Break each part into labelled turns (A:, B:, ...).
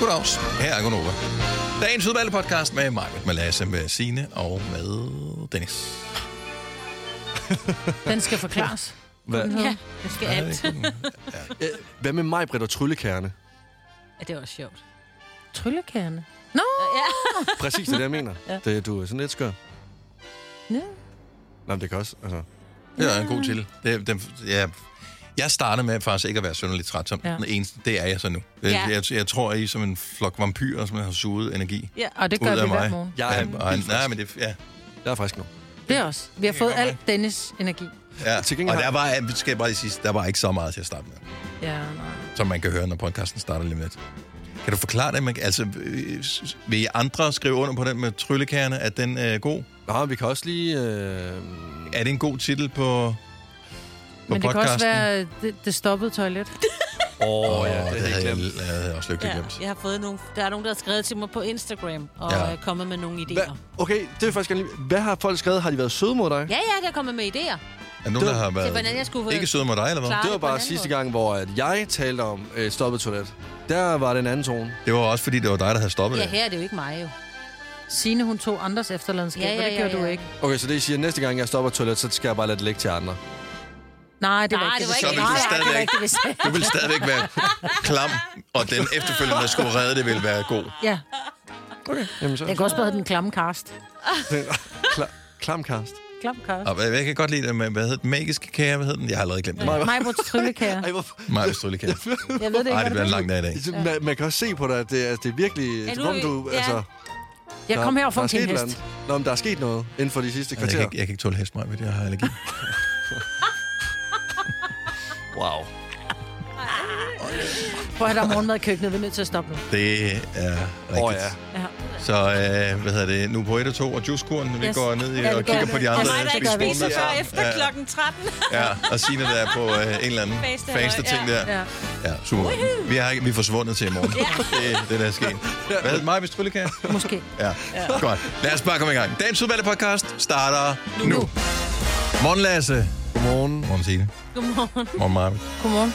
A: Goddags. Her er Gunova. Dagens udvalgte podcast med mig, med Lasse, med Signe og med Dennis.
B: Den skal forklares.
C: Hvad,
B: Ja, det skal
A: Ja,
B: alt.
A: det er ikke den.
C: øh, hvad med mig, Britt, og tryllekærne?
D: Ja, det var sjovt.
B: Tryllekærne. Nå,
C: Præcis det, er det, jeg mener. ja. det, du er sådan lidt skør.
B: ja.
C: Nej, men det kan også. Altså.
A: Det er en god til. Det, den, ja. Jeg startede med faktisk ikke at være synderligt træt som
B: Ja.
A: ja. den eneste. Det er jeg så nu. Ja.
D: Ja.
A: Jeg, jeg, jeg tror, I er som en flok vampyrer, som har suget energi
D: Ja.
B: og det
A: ud
B: gør
A: af
B: vi hver
A: mig.
B: morgen.
C: Jeg er
A: ja, og,
C: vildt
A: nej,
C: frisk.
A: men det, ja.
C: Jeg er frisk nu.
B: Det er også. Vi har
A: Det
B: fået
A: gør mig.
B: alt Dennis energi.
A: ja.
C: Til
A: Og
C: gengæld har-
A: der var, jeg skal jeg bare lige sige, der var ikke så meget til at starte med,
B: Ja, nej.
A: som man kan høre, når podcasten starter lige om lidt. Kan du forklare det? Man, altså, øh, s- vil I andre skrive under på den med tryllekærne? Er den øh, god?
C: Nå, vi kan også lige... Øh,
A: Er det en god titel på, på
B: Men det kan også
A: podcasten?
B: være øh, det, det stoppede toilet.
C: Åh,
A: Åh,
C: oh, ja,
A: det,
C: det er
A: havde jeg,
C: glemt.
A: jeg havde også lykkeligt ja. glemt.
D: Jeg har fået nogle, der er nogen, der har skrevet til mig på Instagram og
A: Ja.
D: ja. kommet med nogle
C: Hva,
D: idéer.
C: okay, det er faktisk gerne lige... Hvad har folk skrevet? Har de været søde mod dig?
D: Ja, ja, der er kommet med idéer.
A: Er nogen, der har
D: Til hvordan
A: været
D: jeg skulle
A: ikke søde mod dig, eller hvad?
D: Klar.
C: Det var
D: Ej, på en
C: bare
D: anden
C: sidste
D: måde.
C: gang, hvor at jeg talte om øh, stoppet toilet. Der var den anden tone.
A: Det var også, fordi det var dig, der havde stoppet
D: Ja,
A: det.
D: her er det jo ikke mig jo.
B: Signe, hun tog andres efterladenskab, ja, ja, ja, og det gjorde ja, ja. du ikke.
C: Okay, så det I siger, at næste gang jeg stopper toilet, så skal jeg bare lade det ligge til andre.
B: Nej, det var
D: Nej,
B: ikke
D: det
B: vi
D: var ikke
B: sagde.
D: det.
B: Nej,
A: Så
B: det var
A: stadigvæk.
B: ikke det, vi sagde.
A: Du ville stadigvæk være klam, og den efterfølgende, der skulle redde det, ville være god.
B: Ja,
C: Okay, jamen så...
B: den kan også bare hedde den klamme karst.
C: Kla- Klamkast.
B: Klam karst.
A: Og hvad- jeg kan godt lide det med, hvad hed den? Magiske kære, hvad hed den? Jeg har allerede glemt den.
B: Mig på tryllekære.
C: Ej, hvorfor?
A: Maja Strillekære.
B: Jeg ved det
A: Ej,
B: ikke,
A: det bliver
B: hvad
A: en
B: det
A: lang dag i dag.
C: Ja. Man, man kan også se på dig, at det, altså, det er virkelig... Ja,
D: nu
C: nu,
D: er
C: rum, du,
D: vi- ja.
C: altså,
B: er. Jeg kom
C: der-
B: her og
C: der er
B: fandt
C: sket
B: en
C: et eller
B: hest.
C: andet. Nå, men der er sket noget inden for de sidste
A: Jeg
C: kvarter.
A: kan, ikke, jeg kan ikke tåle hest mig, fordi jeg har allergi.
C: Wow.
B: Prøv at have der er morgenmad i køkkenet. Vi er nødt til at stoppe nu.
A: Det er
C: Åh,
A: rigtigt.
C: ja.
B: Ja.
A: Så øh, hvad hedder det? Nu på 1 og 2, og juicekuren, vi
B: Yes.
A: går ned
B: Ja,
A: i
B: vi
A: og
B: går
A: kigger
B: ned.
A: på de
B: Og
A: andre.
B: mig, der ikke
A: spiser
B: spiser
A: morgenmad
B: før
A: sammen. Ja,
D: 13.
A: Ja, og Signe, der er på øh, en eller anden
D: Faste
A: faste
D: halløj,
A: ting
D: ja.
A: der.
B: Ja.
A: Ja, super. Vi, har, ikke- vi er forsvundet til i morgen. Det, det er der er sket. Hvad hedder Maja Strillekære?
B: Måske.
A: Ja. ja. Godt. Lad os bare komme i gang. Dagens udvalgte podcast starter nu. nu. Morgen, Lasse.
C: Godmorgen.
A: Morgen, Signe.
D: Godmorgen.
A: Morgen, Marvind.
B: Godmorgen.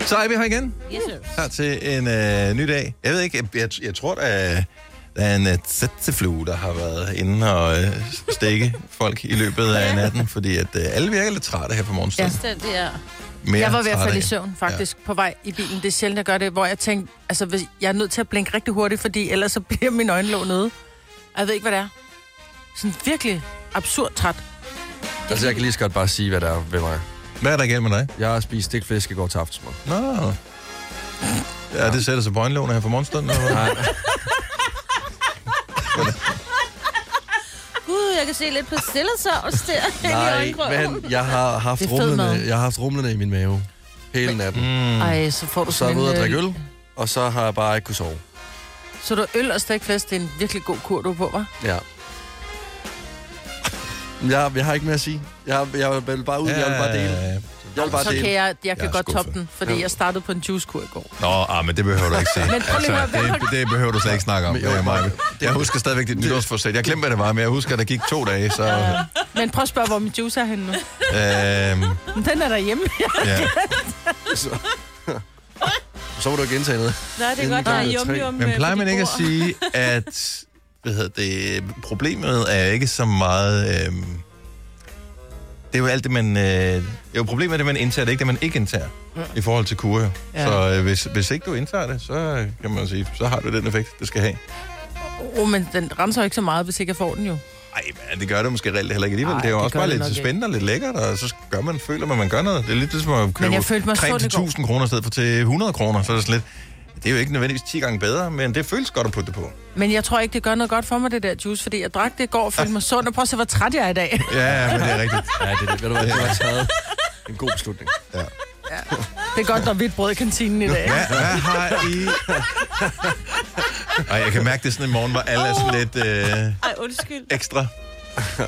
A: Så er vi her igen.
D: Yes, sir.
A: Klar til en øh, ny dag. Jeg ved ikke, jeg, jeg, jeg tror, der er, der er en øh, tætteflue, der har været inde og øh, stikke folk i løbet af natten, fordi at øh, alle virker lidt trætte her på morgenstunden.
D: Fuldstændig, ja.
A: Ja. Mere
B: Jeg var ved at
A: trætte
B: falde i
A: af.
B: søvn, faktisk, ja. på vej i bilen. Det er sjældent, jeg gør det, hvor jeg tænkte, altså, hvis jeg er nødt til at blinke rigtig hurtigt, fordi ellers så bliver min øjenlåg nede. Og Jeg ved ikke, hvad det er. Sådan virkelig absurd træt.
C: Altså, jeg kan lige så godt bare sige, hvad der er ved mig.
A: Ja. Hvad er der galt med dig?
C: Jeg har spist stegt flæsk i går til aftensmål.
A: Nå. Ja, det sætter sig på øjenlågene her på morgenstunden. eller hvad?
C: Nej,
D: Gud, jeg kan se lidt på sillesovs der.
C: nej, men jeg har haft,
B: Det er fed
C: rumlende,
B: mad.
C: jeg har haft rumlende i min mave hele natten. Mm.
B: Mm. Ej, så får du
C: Så er
B: sådan
C: jeg ude og
B: øh,
C: drikke øl, og så har jeg bare ikke kunne sove.
B: Så du øl og stikflæsk, det er en virkelig god kur, du er på, hva'?
C: Ja. Jeg, jeg har ikke mere at sige. Jeg, jeg vil bare ud, jeg vil bare dele. Jeg vil bare
B: Så kan
C: dele.
B: jeg, jeg kan
A: Jeg er
B: godt toppe
A: skuffet.
B: den, fordi jeg startede på en juicekur i går.
A: Nå, ah, men det behøver du ikke sige. Altså,
B: Men prøv lige at høre,
A: det, det behøver du slet ikke snakke om.
C: Men jo,
A: øh, Maja. Jeg husker stadigvæk dit nytårsforsæt. Jeg glemte, hvad det var, men jeg husker, at der gik to dage, så...
B: Men prøv at spørge, hvor min juice er henne nu.
A: Øhm,
B: Men Den er derhjemme.
A: ja.
C: Så må du ikke gentage noget.
D: Nej, det er godt, der er yum-yum.
A: Men plejer
B: øh,
A: man ikke at sige, at hvad hedder det, problemet er ikke så meget... Øhm, det er jo alt det, man... Øh, jo, problemet er det, man indtager, det er ikke det, man ikke indtager i forhold til kur. Ja.
B: Ja.
A: Så øh, hvis, hvis ikke du indtager det, så øh, kan man sige, så har du den effekt, det skal have.
B: Åh, oh, men den renser jo ikke så meget, hvis ikke jeg får den jo.
A: Ej, men det gør det måske reelt heller ikke alligevel. Ej,
B: Ej,
A: det er jo
B: det
A: også
B: gør
A: bare
B: det
A: lidt
B: nok ikke.
A: spændende og lidt lækkert, og så gør man, føler man, man gør noget. Det er lidt ligesom at købe
B: jeg følte mig
A: creme
B: sund
A: til
B: i går.
A: 1000 kroner i stedet for til 100 kroner. Så er det sådan lidt, det er jo ikke nødvendigvis 10 gange bedre, men det føles godt at putte det på.
B: Men jeg tror ikke, det gør noget godt for mig, det der juice, fordi jeg drak det i går og følte mig sund, og prøv at se, hvor træt jeg er i dag.
A: Ja, men det er rigtigt.
C: Ja, det er det. Ved du hvad, du har taget en god beslutning.
B: Det er godt, der er hvidt brød i kantinen i dag.
A: Hvad, hvad har I... Ej, jeg kan mærke det sådan i morgen, hvor alle er sådan lidt øh,
D: Ej, undskyld.
A: ekstra.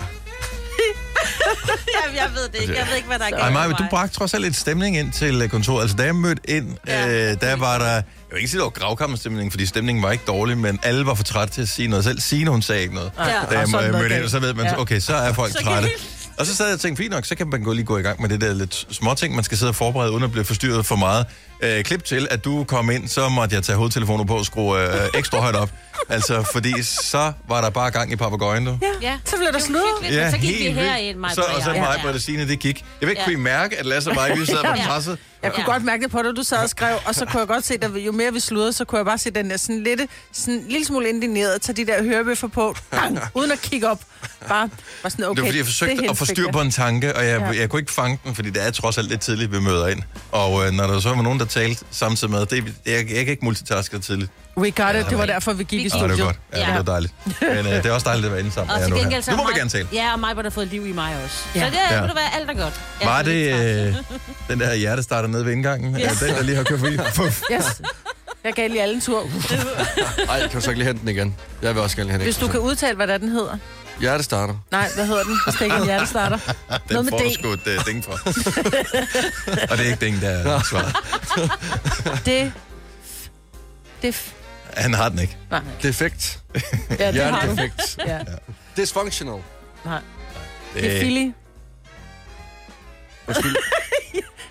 D: Jamen, jeg ved det ikke. Jeg ved ikke, hvad der er galt
A: Ej,
D: med
A: Maja, men du bragte trods alt lidt stemning ind til øh, kontoret. Altså, da jeg mødte ind,
D: Ja.
A: øh, der var der... Jeg vil ikke sige, der var gravkammerstemning, fordi stemningen var ikke dårlig, men alle var for trætte til at sige noget. Selv Signe, hun sagde ikke noget.
D: Ja.
A: Da jeg
B: Og sådan
A: øh,
B: noget
A: mødte ind,
B: galt.
A: så ved man,
B: Ja.
A: okay, så er folk
D: Så kan
A: trætte.
D: vi-
A: Og så sad jeg og tænkte, fint nok, så kan man gå lige gå i gang med det der lidt småting, man skal sidde og forberede, uden at blive forstyrret for meget. Øh, klip til, at du kom ind, så måtte jeg tage hovedtelefoner på og skrue øh, ekstra højt op. Altså, fordi så var der bare gang i papagøjen, du.
D: Ja.
B: Så blev der
D: Det var
B: sludret.
D: hyggeligt, men så gik vi
A: helt
D: herind,
A: vildt.
D: Maja.
A: Så, og så mig, Britt og Signe, det gik. Jeg ved ikke,
D: Ja.
A: kunne I mærke, at Lasse og mig, vi sad og var
D: Ja.
A: presset?
B: Jeg kunne godt mærke det på dig, du sad og skrev, og så kunne jeg godt se, at jo mere vi sludrede, så kunne jeg bare se den der sådan lidt, sådan en lille smule indineret, tage de der hørebøffer på, bang, uden at kigge op. Bare, bare sådan, okay,
A: det var fordi, jeg forsøgte at få styr på en tanke, og jeg, ja. jeg kunne ikke fange den, fordi det er trods alt lidt tidligt, vi møder ind. Og øh, når der så var nogen, der talte samtidig med, det, jeg, jeg kan ikke multitaske tidligt.
B: We got it, det var derfor, vi gik i
D: Vi
A: Og
B: studiet.
A: det var godt. Ja,
D: Ja.
A: det var dejligt. Men øh, det er også dejligt at være inde sammen.
D: Og
A: med jer
D: til
A: nu her.
D: gengæld så
A: nu må
D: har
A: vi
D: Maj-
A: gerne tale.
D: Ja, og mig, der har fået liv i mig også.
B: Ja.
D: Så det er,
A: Ja.
D: ja. det være alt er godt. Jeg er
A: Var
D: sådan
A: det
D: lidt træt.
A: øh, den der hjertestarter nede ved indgangen? Ja. Den, der lige har kørt forbi? Puff.
B: Yes. Jeg gav lige alle en tur.
C: Ej, kan du så ikke lige hente den igen? Jeg vil også gerne lige have den
B: Hvis du
C: ekstra.
B: kan udtale, hvad der den hedder.
C: Hjerte starter.
B: Nej, hvad hedder den? Hvis det ikke er en hjertestarter. Noget
A: Den
B: med
A: får du sgu
B: D.
A: et øh, ding for. og det er ikke ding, der er svaret.
B: Det. Det.
A: Han har den ikke.
B: Nej,
C: Defekt.
B: ja, det har du.
C: Hjernedefekt.
B: Ja.
C: Dysfunctional.
B: Nej.
A: Det,
B: Det er
A: er,
B: Fili.
C: Undskyld.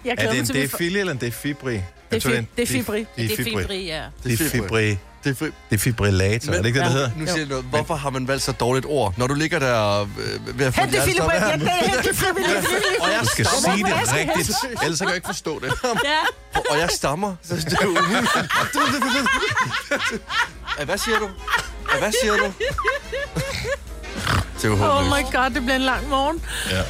B: Jeg
A: er
B: glæder
A: det
B: mig
A: en
B: til, at vi får-
A: defili eller en defibri?
B: Det er fi-
A: øh,
B: defibri.
D: Det er
A: Defibri.
D: fibri, ja.
A: Defibri.
C: Defibri.
A: Defibrillator, er det ikke det, det hedder?
C: Nu siger jeg noget. Hvorfor har man valgt så dårligt ord? Når du ligger der øh, ved at få
B: Hent det, Fili,
C: hjertestop-
B: Britt. Jeg gav hente det, Fili.
C: og jeg
A: Du skal
C: stammer,
A: sige det
B: Hvorfor er det
A: rigtigt, ellers så kan jeg ikke forstå det.
D: Ja,
C: og jeg stammer. Så det er jo umuligt. Ej, Hvad siger du? Ej, Hvad siger du? Det er jo
B: Oh
C: håbløst.
B: my god, det bliver en lang morgen.
A: Ja.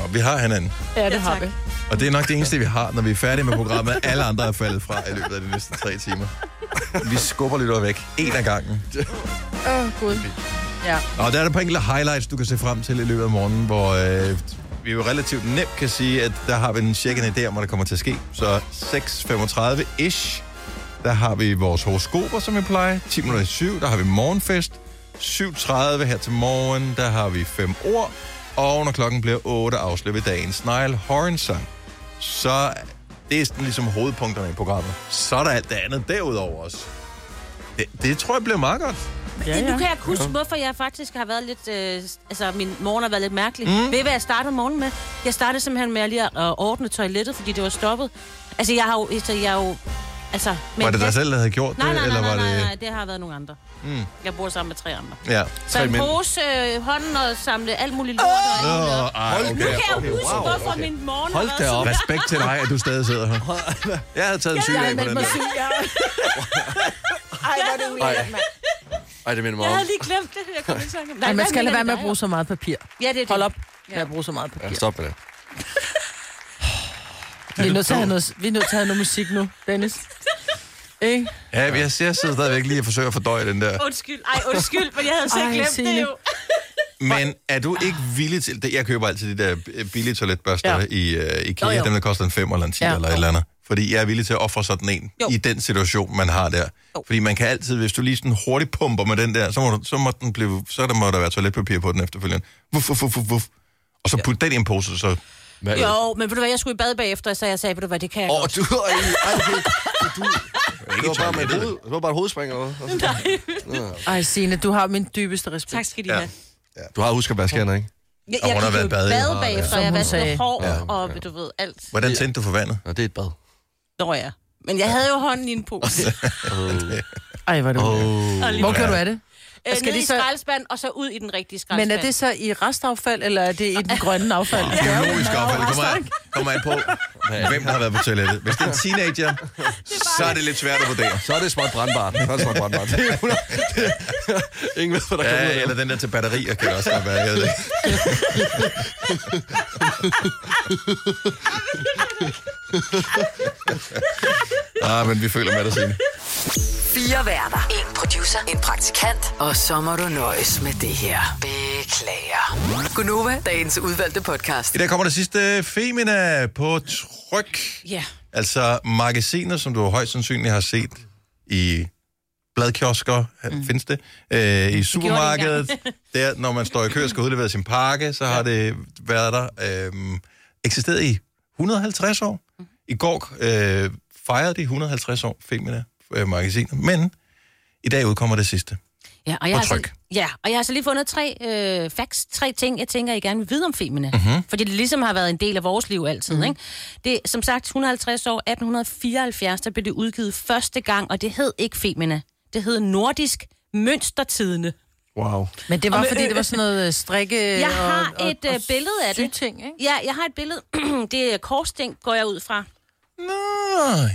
A: Nå, vi har hinanden,
B: Ja, det har vi.
A: og det er nok det eneste, vi har, når vi er færdige med programmet. Alle andre er faldet fra i løbet af de næste tre timer. Vi skubber lidt væk, en af gangen.
B: Åh, oh, gud. Ja.
A: Og der er der på enkelte highlights, du kan se frem til i løbet af morgenen, hvor øh, vi jo relativt nemt kan sige, at der har vi en cirka en idé om, hvad der kommer til at ske. Så 6.35-ish, der har vi vores horoskoper, som vi plejer. 10 minutter i 7, der har vi morgenfest. 7.30 her til morgen, der har vi fem ord. Og når klokken bliver 8, afsløber dagens Nile Horenson. Så det er sådan ligesom hovedpunkterne i programmet. Så er der alt det andet derudover også. Det, det tror jeg bliver meget godt.
B: Ja,
D: Det, nu
B: ja.
D: kan jeg huske, hvorfor jeg faktisk har været lidt... Øh, altså, min morgen har været lidt mærkelig. Mm. Ved I, hvad jeg startede morgenen med? Jeg startede simpelthen med at lige at øh, ordne toilettet, fordi det var stoppet. Altså, jeg har jo... Altså, jeg har jo altså, men
A: var det dig selv, der havde gjort
D: Nej,
A: det?
D: nej, nej, nej,
A: var
D: nej,
A: det...
D: nej, det har været nogle andre. Mm. Jeg bor sammen med tre andre.
A: Ja.
D: Så
C: Tre
D: en
C: mænd.
D: pose, øh, hånden og samle alt muligt lort og alt muligt. op.
A: ej,
C: okay.
D: Nu kan jeg jo huske, hvorfor min morgen har
C: Hold
D: været
C: da
D: sådan.
C: op.
A: Respekt til dig, at du stadig sidder her. Jeg havde taget en syg
B: Jeg
A: af
B: er
A: på den der.
B: med mig syg, ja. Ej, hvor er det ulækkert, mand.
C: Ej, det minder mig
D: Jeg
C: om.
D: havde lige glemt det. Jeg kom ikke i tanke om det.
B: Ej, man
D: hvad
B: skal lade
D: mener
B: være med
D: vi
B: at bruge så meget papir.
D: dig? Ja, det er det.
B: Hold op med at bruge så meget papir.
C: Ja, stop med det.
B: Vi er nødt til at have noget, vi er nødt til at have noget musik nu, Dennis. Ikke?
A: Ja, men jeg jeg sidder stadigvæk lige og forsøger at fordøje den der.
D: Undskyld. Ej, undskyld, men jeg havde selv
B: Ej,
D: glemt
B: Signe.
D: det jo.
A: Men er du ikke villig til... det- Jeg køber altid de der øh, billige toiletbørster
B: Ja.
A: ja. i øh, IKEA,
B: Jo, jo.
A: dem der koster en 5 eller en 10
B: Ja.
A: ja. eller et eller andet. Fordi jeg er villig til at ofre sådan en
D: Jo.
A: i den situation, man har der. Fordi man kan altid, hvis du lige sådan hurtigt pumper med den der, så må, du, så må, den blive, så der må der være toiletpapir på den efterfølgende. Vuff, vuff, vuff, vuff, vuff. Og så put den i en pose, så...
D: Jo, men ved du hvad, jeg skulle i bad bagefter, så jeg sagde, ved du hvad, det kan jeg
C: Åh,
D: godt.
C: du har egentlig... Ej, okay. Du,
A: Ikke
C: det var bare med et
A: toilettet.
C: hoved, det var bare et hovedspring, eller hvad?
B: Ej, Signe, du har min dybeste respekt.
D: Tak skal de have.
C: Du har husket at vaske hænder, ikke?
D: Jeg,
A: Og hun
D: jeg
A: har
D: gik jo
A: været
D: i
A: bad,
D: bad
A: ja.
D: bagefter,
B: Som
D: jeg
B: hun
D: vaskede
B: sagde.
D: hår, og du ved, alt.
A: Hvordan tændte du for vandet?
C: Nå, det er et bad.
D: Nå ja. Men jeg havde jo hånden i en pose.
B: Ej, hvor er det ulækkert. Hvor gjorde du af det?
D: Øh,
B: Skal
D: ned
B: de
D: i
B: så-
D: skraldespand, og så ud i den rigtige skraldespand.
B: Men er det så i restaffald, eller er det i den grønne affald?
A: biologisk affald. Det kommer an, kommer an på, hvem der har været på toilettet. Hvis det er en teenager, så er det lidt svært at vurdere.
C: Så er det småt brandbart. Så er det småt brandbart. Det er jo- det- Ingen ved, hvad der kommer ud
A: Ja,
C: af
A: eller
C: det.
A: den der til batterier kan det også godt være. Jeg ved det. ikke. ah, men vi føler med dig, Signe.
E: Fire værter. En producer. En praktikant. Og så må du nøjes med det her. Beklager. Gunova, dagens udvalgte podcast.
A: I dag kommer det sidste Femina på tryk.
D: Ja.
A: Altså magasiner, som du højst sandsynligt har set i bladkiosker, mm. findes det, øh, i supermarkedet. der, når man står i kø og skal udlevere sin pakke, så har det været der øh, eksisteret i 150 år. I går øh, fejrede de 150 år Femina øh, magasiner, men i dag udkommer det sidste.
D: Ja, og jeg
A: På
D: har
A: tryk.
D: Så, ja, og jeg har så lige fundet tre øh, facts, tre ting, jeg tænker, I gerne vil vide om Femina.
A: Mhm.
D: Fordi det ligesom har været en del af vores liv altid, mm-hmm. ikke? Det, som sagt, 150 år, 1874, der blev det udgivet første gang, og det hed ikke Femina. Det hed Nordisk Mønstertidene.
C: Wow.
B: Men det var,
D: Og med
B: fordi
D: ø-
B: det var sådan noget øh, strikke
D: Jeg har
B: og, og,
D: et, øh,
B: og
D: billede af det.
B: Ting, ikke?
D: Ja, jeg har et billede. det er korsting, går jeg ud fra.
A: Nå,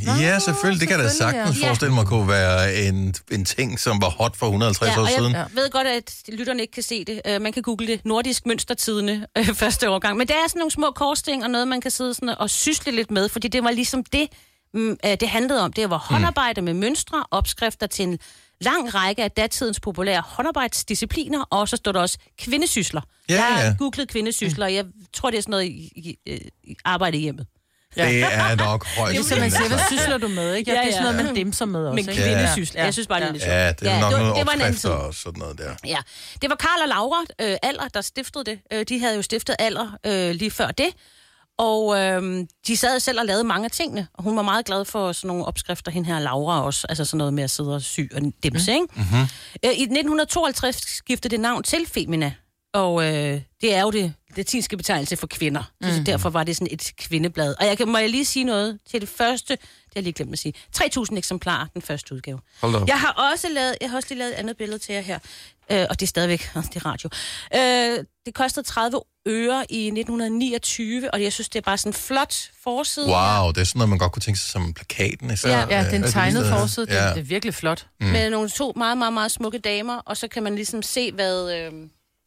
A: Ah, ja, selvfølgelig. Det kan jeg da
B: selvfølgelig, ja.
A: sagtens
D: Ja.
A: forestille mig kunne være en, en ting, som var hot for 150
D: Ja,
A: år
D: og
A: siden.
D: jeg ved godt, at lytterne ikke kan se det. Øh, man kan google det. Nordisk mønstertidene øh, første årgang. Men det er sådan nogle små korsting og noget, man kan sidde sådan og sysle lidt med, fordi det var ligesom det, mm, øh, det handlede om. Det var
A: Mm.
D: håndarbejde med mønstre, opskrifter til en lang række af datidens populære håndarbejdsdiscipliner, og så står der også kvindesysler.
A: Ja,
D: jeg
A: ja.
D: har googlet kvindesysler, og jeg tror, det er sådan noget i, i, i- i arbejde i hjemmet.
A: Det er nok højst.
B: Ligesom man siger, hvad sysler du med, ikke? Ja,
D: Ja,
B: Det er sådan
D: ja.
B: noget, man dimser med også,
D: Men
B: ikke?
D: kvindesysler,
B: Ja.
D: jeg synes bare, det er lidt sjovt.
A: Ja, det er nok
D: det var-
A: noget
D: det var en anden
A: opskrifter
D: tid.
A: og sådan noget der.
D: Ja, det var Karl og Laura øh, Aller, der stiftede det. Øh, de havde jo stiftet Aller øh, lige før det. Og øh, de sad selv og lavede mange af tingene. Og hun var meget glad for sådan nogle opskrifter, hende her Laura også. Altså sådan noget med at sidde og sy og dimse, mm. ikke? Mm-hmm. Øh, I 1952 skiftede det navn til Femina. Og øh, det er jo det latinske betegnelse for kvinder. Mm. Så derfor var det sådan et kvindeblad. Og jeg kan, må jeg lige sige noget til det første? Det har jeg lige glemt at sige. 3.000 eksemplarer, den første udgave.
C: Hold da op.
D: Jeg har også lavet, jeg har også lige lavet et andet billede til jer her. Øh, og det er stadigvæk, det er radio. Øh, det kostede 30 øre i 1929, og jeg synes, det er bare sådan en flot forside.
A: Wow, det er sådan noget, man godt kunne tænke sig som plakaten. Især,
D: Ja,
B: Ja,
A: øh,
B: den
A: et
B: tegnede
A: sted.
B: forside, ja. det, det er virkelig flot.
D: Mm. Med nogle to meget, meget, meget smukke damer, og så kan man ligesom se, hvad, øh,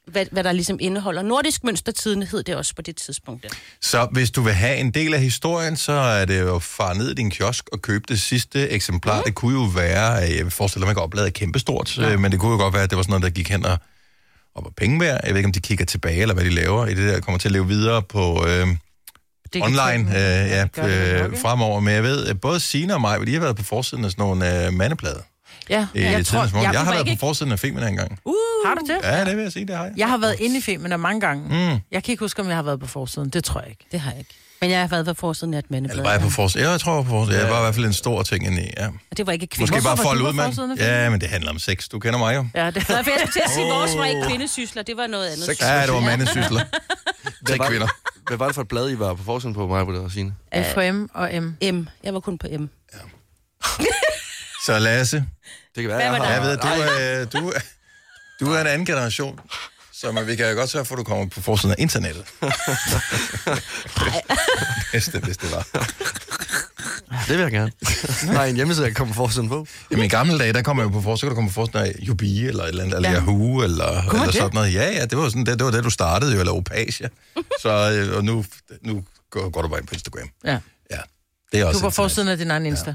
D: hvad, hvad der ligesom indeholder. Nordisk mønstertiden hed det også på det tidspunkt. Der.
A: Så hvis du vil have en del af historien, så er det jo at fare ned i din kiosk og købe det sidste eksemplar. Mm. Det kunne jo være, øh, jeg forestiller mig ikke, at opladet er kæmpestort, ja. men det kunne jo godt være, at det var sådan noget, der gik hen og, og var penge værd. Jeg ved ikke, om de kigger tilbage, eller hvad de laver i det der, kommer til at leve videre på øh,
B: Det kan
A: online
B: tænke-
A: øh, ja,
B: gør det vel nok,
A: øh,
B: ikke?
A: fremover. Men jeg ved, at både Signe og mig, de har været på forsiden af sådan nogle øh, mandeplader.
B: Ja,
A: Øh, jeg, tror, jeg, jeg har
B: var
A: været
B: ikke-
A: på forsiden af Femina engang. Uh.
B: Har du det?
A: Ja, det vil jeg sige, det har jeg.
B: Jeg har været inde i Femina mange gange.
A: Mm.
B: Jeg kan ikke huske, om jeg har været på forsiden. Det tror jeg ikke.
D: Det har jeg ikke. Men jeg har været på forsiden af et mandeblad.
A: Eller var jeg på forsiden? Ja, jeg tror, jeg var på forsiden. Ja. Jeg var i hvert fald en stor ting inde i, ja.
D: Og det var ikke kvinder.
A: Måske
B: Hvorfor
A: bare
B: var
A: folde
B: du på
A: ud,
B: forsiden af
A: mand.
B: filmen?
A: Ja, men det handler om sex. Du kender mig jo.
B: Ja, det
D: Nå, for jeg skulle til at sige, vores var ikke kvindesysler, det var noget andet.
C: Sex.
A: Ja, det var mandesysler. Til
C: var-
A: kvinder.
C: Hvad var det for et blad, I var på forsiden på mig, på det, Signe?
B: FHM og M.
D: M. Jeg var kun på M. Mm.
A: Så Lasse,
C: Det kan være,
D: Hvad
C: jeg
D: var
C: har...
A: jeg ved, du, øh, du, du er en anden generation. Så men vi kan jo godt sørge for, at du kommer på forsiden af internettet. Næste, hvis det var.
C: Det vil jeg gerne. Nej, en hjemmeside, jeg kan komme på forsiden på.
A: Jamen, I gamle dage, der kom jeg jo på forsiden, så kunne du komme på forsiden af Jubi, eller, et eller, andet, eller
B: Ja.
A: Yahoo, eller, eller
B: det?
A: sådan noget. Ja, ja, det var, sådan, det, det var det, du startede jo, eller Opasia. Så, øh, og nu, nu går, går du bare ind på Instagram.
B: Ja.
A: Ja, det er også
B: Du var
A: internet.
B: forsiden af din egen Insta.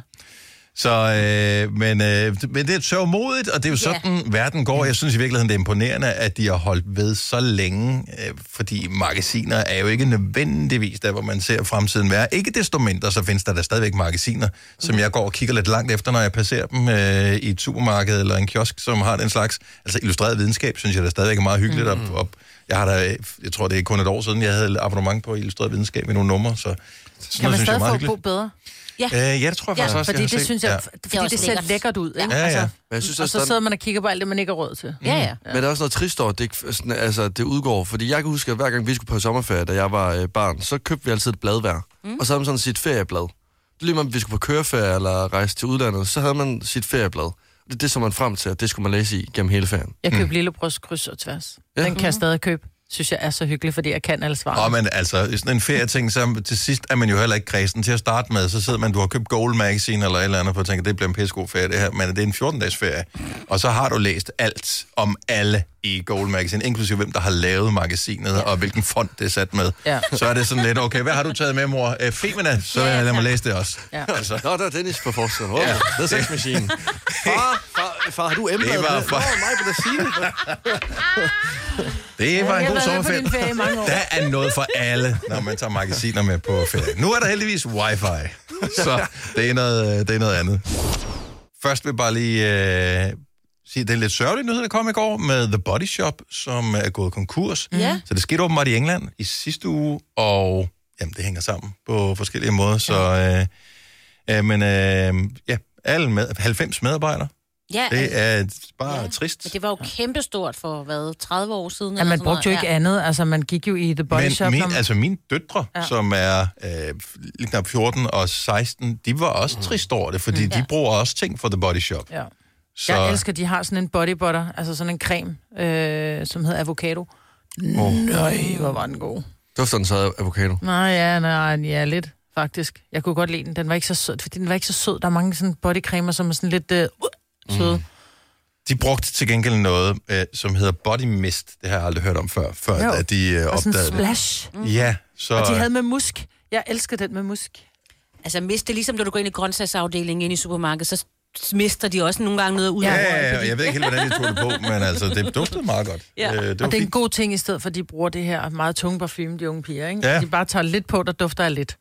A: Så, øh, men, øh, men det er sørgmodigt, og det er jo
D: Ja.
A: sådan, verden går. Jeg synes i virkeligheden, det er imponerende, at de har holdt ved så længe, øh, fordi magasiner er jo ikke nødvendigvis der, hvor man ser fremtiden være. Ikke desto mindre, så findes der da stadigvæk magasiner, som
B: Mhm.
A: jeg går og kigger lidt langt efter, når jeg passerer dem øh, i et supermarked eller en kiosk, som har den slags. Altså illustreret videnskab, synes jeg da stadigvæk er meget hyggeligt. Mm.
B: Mhm.
A: Op, op. Jeg har da, øh, jeg tror det er kun et år siden, jeg havde abonnement på illustreret videnskab i nogle numre, så sådan
B: Kan
A: noget
B: man
A: synes jeg er
B: stadig
A: meget
B: få
A: hyggeligt.
B: bo bedre?
A: Øh, ja, det tror jeg
D: Ja,
A: faktisk også,
B: Fordi
A: jeg har
B: det
A: set.
B: synes
A: Ja.
B: jeg, fordi
D: også
B: det ser
D: lækkert.
B: lækkert ud, ikke? Altså,
A: Ja, ja.
C: Men jeg synes
B: og
C: også,
B: så
C: der-
B: sidder man og kigger på alt det, man ikke har råd til. Mm.
D: Ja, ja.
C: Ja. Men der er også noget trist over, at det, ikke- sådan, altså, det udgår. Fordi jeg kan huske, at hver gang vi skulle på sommerferie, da jeg var øh, barn, så købte vi altid et blad hver. Mm. Og så havde man sådan sit ferieblad. Det lige meget, om vi skulle på køreferie eller rejse til udlandet, så havde man sit ferieblad. Det er det, som man frem til, at det skulle man læse i gennem hele ferien.
B: Jeg købte lillebrors kryds og tværs. Den kan jeg stadig købe. Synes jeg er så hyggelig, fordi jeg kan alle
A: Nå,
B: svarene.
A: men altså, sådan en ferieting, så til sidst er man jo heller ikke kredsen til at starte med. Så sidder man, du har købt Gold Magazine eller et eller andet, for at tænke, det bliver en pissegod ferie, det her. Men det er en 14-dages ferie. Og så har du læst alt om alle i Gold Magazine, inklusive hvem, der har lavet magasinet, og hvilken fond det er sat med.
B: Ja.
A: Så er det sådan lidt, okay, hvad har du taget med, mor? Øh, Femina, så
D: Ja,
A: lad mig
D: tak.
A: læse det også.
B: Ja.
A: Altså,
C: Nå, der er Dennis på forsiden. Wow, ja. The Sex Machine. Far, far, far har du embladet?
A: Det var
C: med?
A: for-
C: Nå, mig på det side.
A: det var en
B: jeg
A: god
B: har været med på
A: sommerferie.
B: din ferie i mange år.
A: Der er noget for alle, når man tager magasiner med på ferie. Nu er der heldigvis wifi, så det er noget, det er noget andet. Først vil jeg bare lige øh, sige, at det er lidt sørgeligt nyhed, der kom i går med The Body Shop, som er gået konkurs.
D: Ja.
A: Så det skete åbenbart i England i sidste uge, og jamen, det hænger sammen på forskellige måder. Så, øh, øh, men øh, ja, alle med, 90 medarbejdere
D: Ja, altså,
A: Det er bare ja. trist.
D: Men det var jo kæmpestort for, hvad, 30 år siden?
B: Ja,
D: eller
B: man
D: sådan
B: brugte jo
D: noget.
B: ikke andet. Altså, man gik jo i The Body
A: Men
B: Shop.
A: min,
B: når man-
A: altså mine døtre,
B: Ja.
A: ja. som er øh, lige knap 14 og 16, de var også trist over det, fordi mm. de bruger også ting fra The Body Shop.
B: Ja.
A: Så,
B: Jeg elsker, at de har sådan en body butter, altså sådan en creme, øh, som hedder avocado.
C: Oh.
B: Nøj, hvor var den god.
C: Dufter den så af avocado?
B: Nej, ja, nej, ja, lidt faktisk. Jeg kunne godt lide den. Den var ikke så sød, fordi den var ikke så sød. Der er mange sådan bodycremer, som er sådan lidt øh, uh, søde. Mm.
A: de brugte til gengæld noget, øh, som hedder Body Mist. Det har jeg aldrig hørt om før, før
B: Jo.
A: at de øh,
B: Og sådan en
A: opdagede det.
B: splash.
A: Ja, så...
B: Og de havde med musk. Jeg elsker den med musk.
D: Altså, mist, det er ligesom, når du går ind i grøntsagsafdelingen ind i supermarkedet, så s- mister de også nogle gange noget ud af
A: Ja,
D: røgen,
A: ja, ja,
D: fordi-
A: og jeg ved ikke helt, hvordan de tog det på, men altså, det duftede meget godt.
D: Ja.
A: Øh, det var
B: Og det er en
A: fint.
B: god ting, i stedet for, at de bruger det her meget tunge parfume, de unge piger, ikke?
A: Ja.
B: De bare tager lidt på, der dufter af lidt.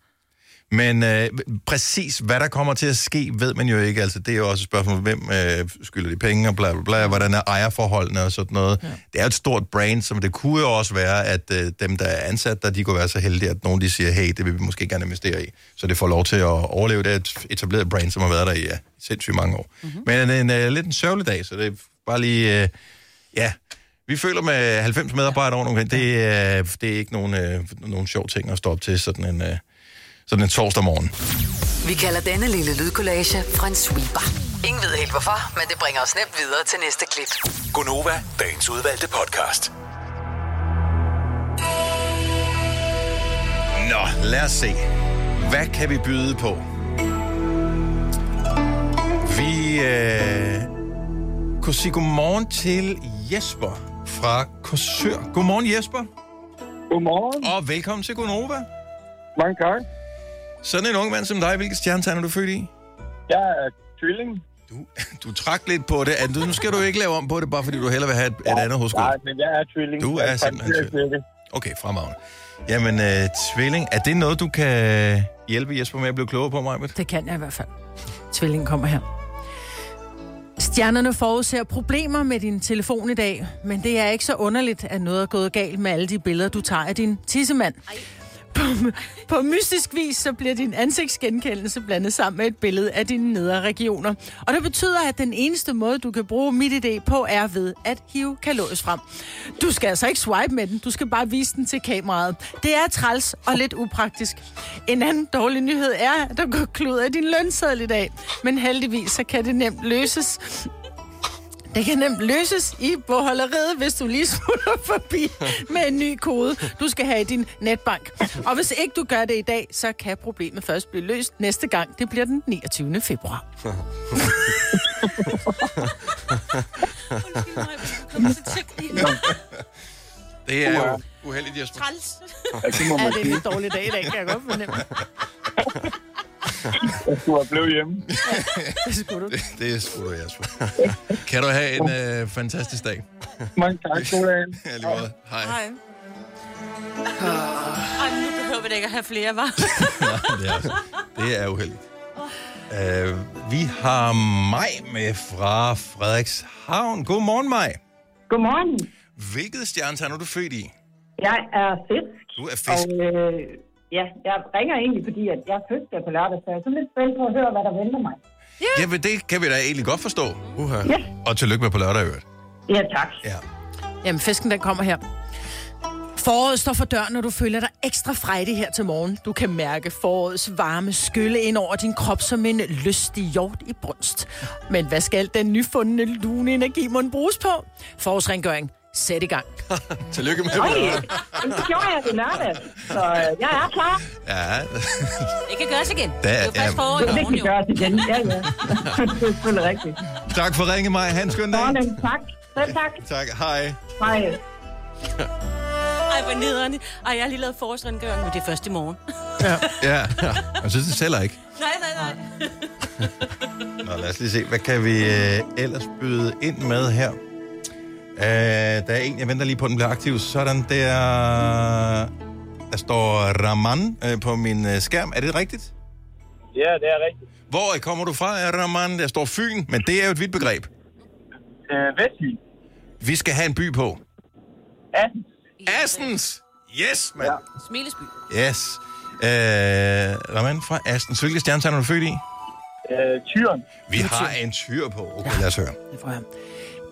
A: Men øh, præcis hvad der kommer til at ske, ved man jo ikke. Altså, det er jo også et spørgsmål, hvem øh, skylder de penge og bla bla bla, hvordan er ejerforholdene og sådan noget. Ja. Det er et stort brand, som det kunne jo også være, at øh, dem, der er ansat der, de kunne være så heldige, at nogen de siger, hey, det vil vi måske gerne investere i. Så det får lov til at overleve. Det er et etableret brand, som har været der i ja, sindssygt mange år. Mm-hmm. Men en, en øh, lidt en sørgelig dag, så det er bare lige... Øh, ja, vi føler med 90 medarbejdere rundt omkring, det, øh, det er ikke nogen, øh, nogen sjov ting at stå op til sådan en... Øh, sådan en torsdag morgen.
E: Vi kalder denne lille lydkollage en sweeper. Ingen ved helt hvorfor, men det bringer os nemt videre til næste klip.
F: Gunova, dagens udvalgte podcast.
A: Nå, lad os se. Hvad kan vi byde på? Vi øh, kunne sige godmorgen til Jesper fra Korsør. Godmorgen Jesper,
G: Godmorgen.
A: og velkommen til Gonova.
G: Mange tak.
A: Sådan en ung mand som dig, hvilket stjernetegn er du født i?
G: Jeg er tvilling.
A: Du, du trak lidt på det. At Nu skal du ikke lave om på det, bare fordi du hellere vil have et, et andet hos
G: Nej, men jeg er tvilling.
A: Du er
G: Jeg
A: simpelthen
G: praktiserer
A: tvilling.
G: kirke.
A: Okay, fremragende. Jamen, øh, tvilling, er det noget, du kan hjælpe Jesper med at blive klogere på, Majbet?
B: Det kan jeg i hvert fald. Tvillingen kommer her. Stjernerne forudser problemer med din telefon i dag, men det er ikke så underligt, at noget er gået galt med alle de billeder, du tager af din tissemand. På, på mystisk vis, så bliver din ansigtsgenkendelse blandet sammen med et billede af dine nedre regioner. Og det betyder, at den eneste måde, du kan bruge mit idé på, er ved at hive kalorisk frem. Du skal altså ikke swipe med den, du skal bare vise den til kameraet. Det er træls og lidt upraktisk. En anden dårlig nyhed er, at der går kluder i din lønseddel i dag. Men heldigvis, så kan det nemt løses. Det kan nemt løses i bogholderiet, hvis du lige smutter forbi med en ny kode, du skal have i din netbank. Og hvis ikke du gør det i dag, så kan problemet først blive løst næste gang. Det bliver den 29. februar.
D: Undskyld mig, hvis du kommer til teknik.
A: Det er jo uheldigt, Jesper.
D: Træls.
G: Ja, det Altså, må
B: Ja,
G: man
B: det er en
G: sige.
B: lidt dårlig dag i dag, kan jeg godt fornemme.
G: Du er blevet hjemme.
B: Det skulle du.
A: Det er sgu da jeres skyld. Kan du have en øh, fantastisk dag?
G: Mange tak, god dag.
A: Ja, lige måde. Hej. Hej.
D: Ej, nu behøver vi da ikke at have flere, var.
A: Det, er, altså- det er uheldigt. Uh, vi har Maj med fra Frederikshavn. Godmorgen, Maj.
H: Godmorgen.
A: Hvilket stjernetegn er du født i?
H: Jeg er fisk.
A: Du er
H: Og
A: fisk.
H: øh, ja, jeg ringer egentlig, fordi at jeg er fødselsdag på lørdag, så jeg er sådan lidt spændt på at høre, hvad der venter mig.
A: Ja, men det kan vi da egentlig godt forstå.
C: Uha.
H: Ja,
A: Og tillykke med på lørdag, i øvrigt.
H: ja tak.
A: Ja.
B: Jamen, fisken den kommer her. Foråret står for døren, når du føler dig ekstra frejdig her til morgen. Du kan mærke forårets varme skylle ind over din krop som en lystig hjort i brunst. Men hvad skal al den nyfundne lune energi mon bruges på? Forårsrengøring. Sæt i gang.
C: Tillykke med
H: Oj,
C: det.
H: jamen, det gjorde jeg det lørdag, så øh, jeg er klar.
A: Ja,
D: Det kan gøres igen.
A: Der
D: Det er jo
A: er-
D: først forår i
H: Det
D: morgen,
H: kan
D: jo.
H: gøres igen. Ja, ja. det er selvfølgelig rigtigt.
A: tak for ringe, Maj. Ha' en skøn dag.
H: Fornem, tak. Selv tak.
A: Tak. Hej.
H: Hej.
D: Ej, hvor nederne. Ej, jeg har lige lavet forårsrengøring, men det er først i morgen.
A: Ja. Jeg synes, det sælger ikke.
D: Nej, nej, nej.
A: Nå, lad os lige se, hvad kan vi øh, ellers byde ind med her? Øh, der er en, jeg venter lige på, at den bliver aktiv. Sådan der... Der står Raman øh, på min øh, skærm. Er det rigtigt?
G: Ja, det er rigtigt.
A: Hvor kommer du fra, øh, Raman? Der står Fyn, men det er jo et vidt begreb.
G: Øh, Vestlig.
A: Vi skal have en by på.
G: Assens.
A: Assens! Yes, mand!
D: Smilesby.
A: Yes. Øh, Raman fra Assens. Hvilke stjernetegn er du født i?
G: Øh, tyren.
A: Vi har en tyr på. Okay, lad os høre.
B: Det får jeg.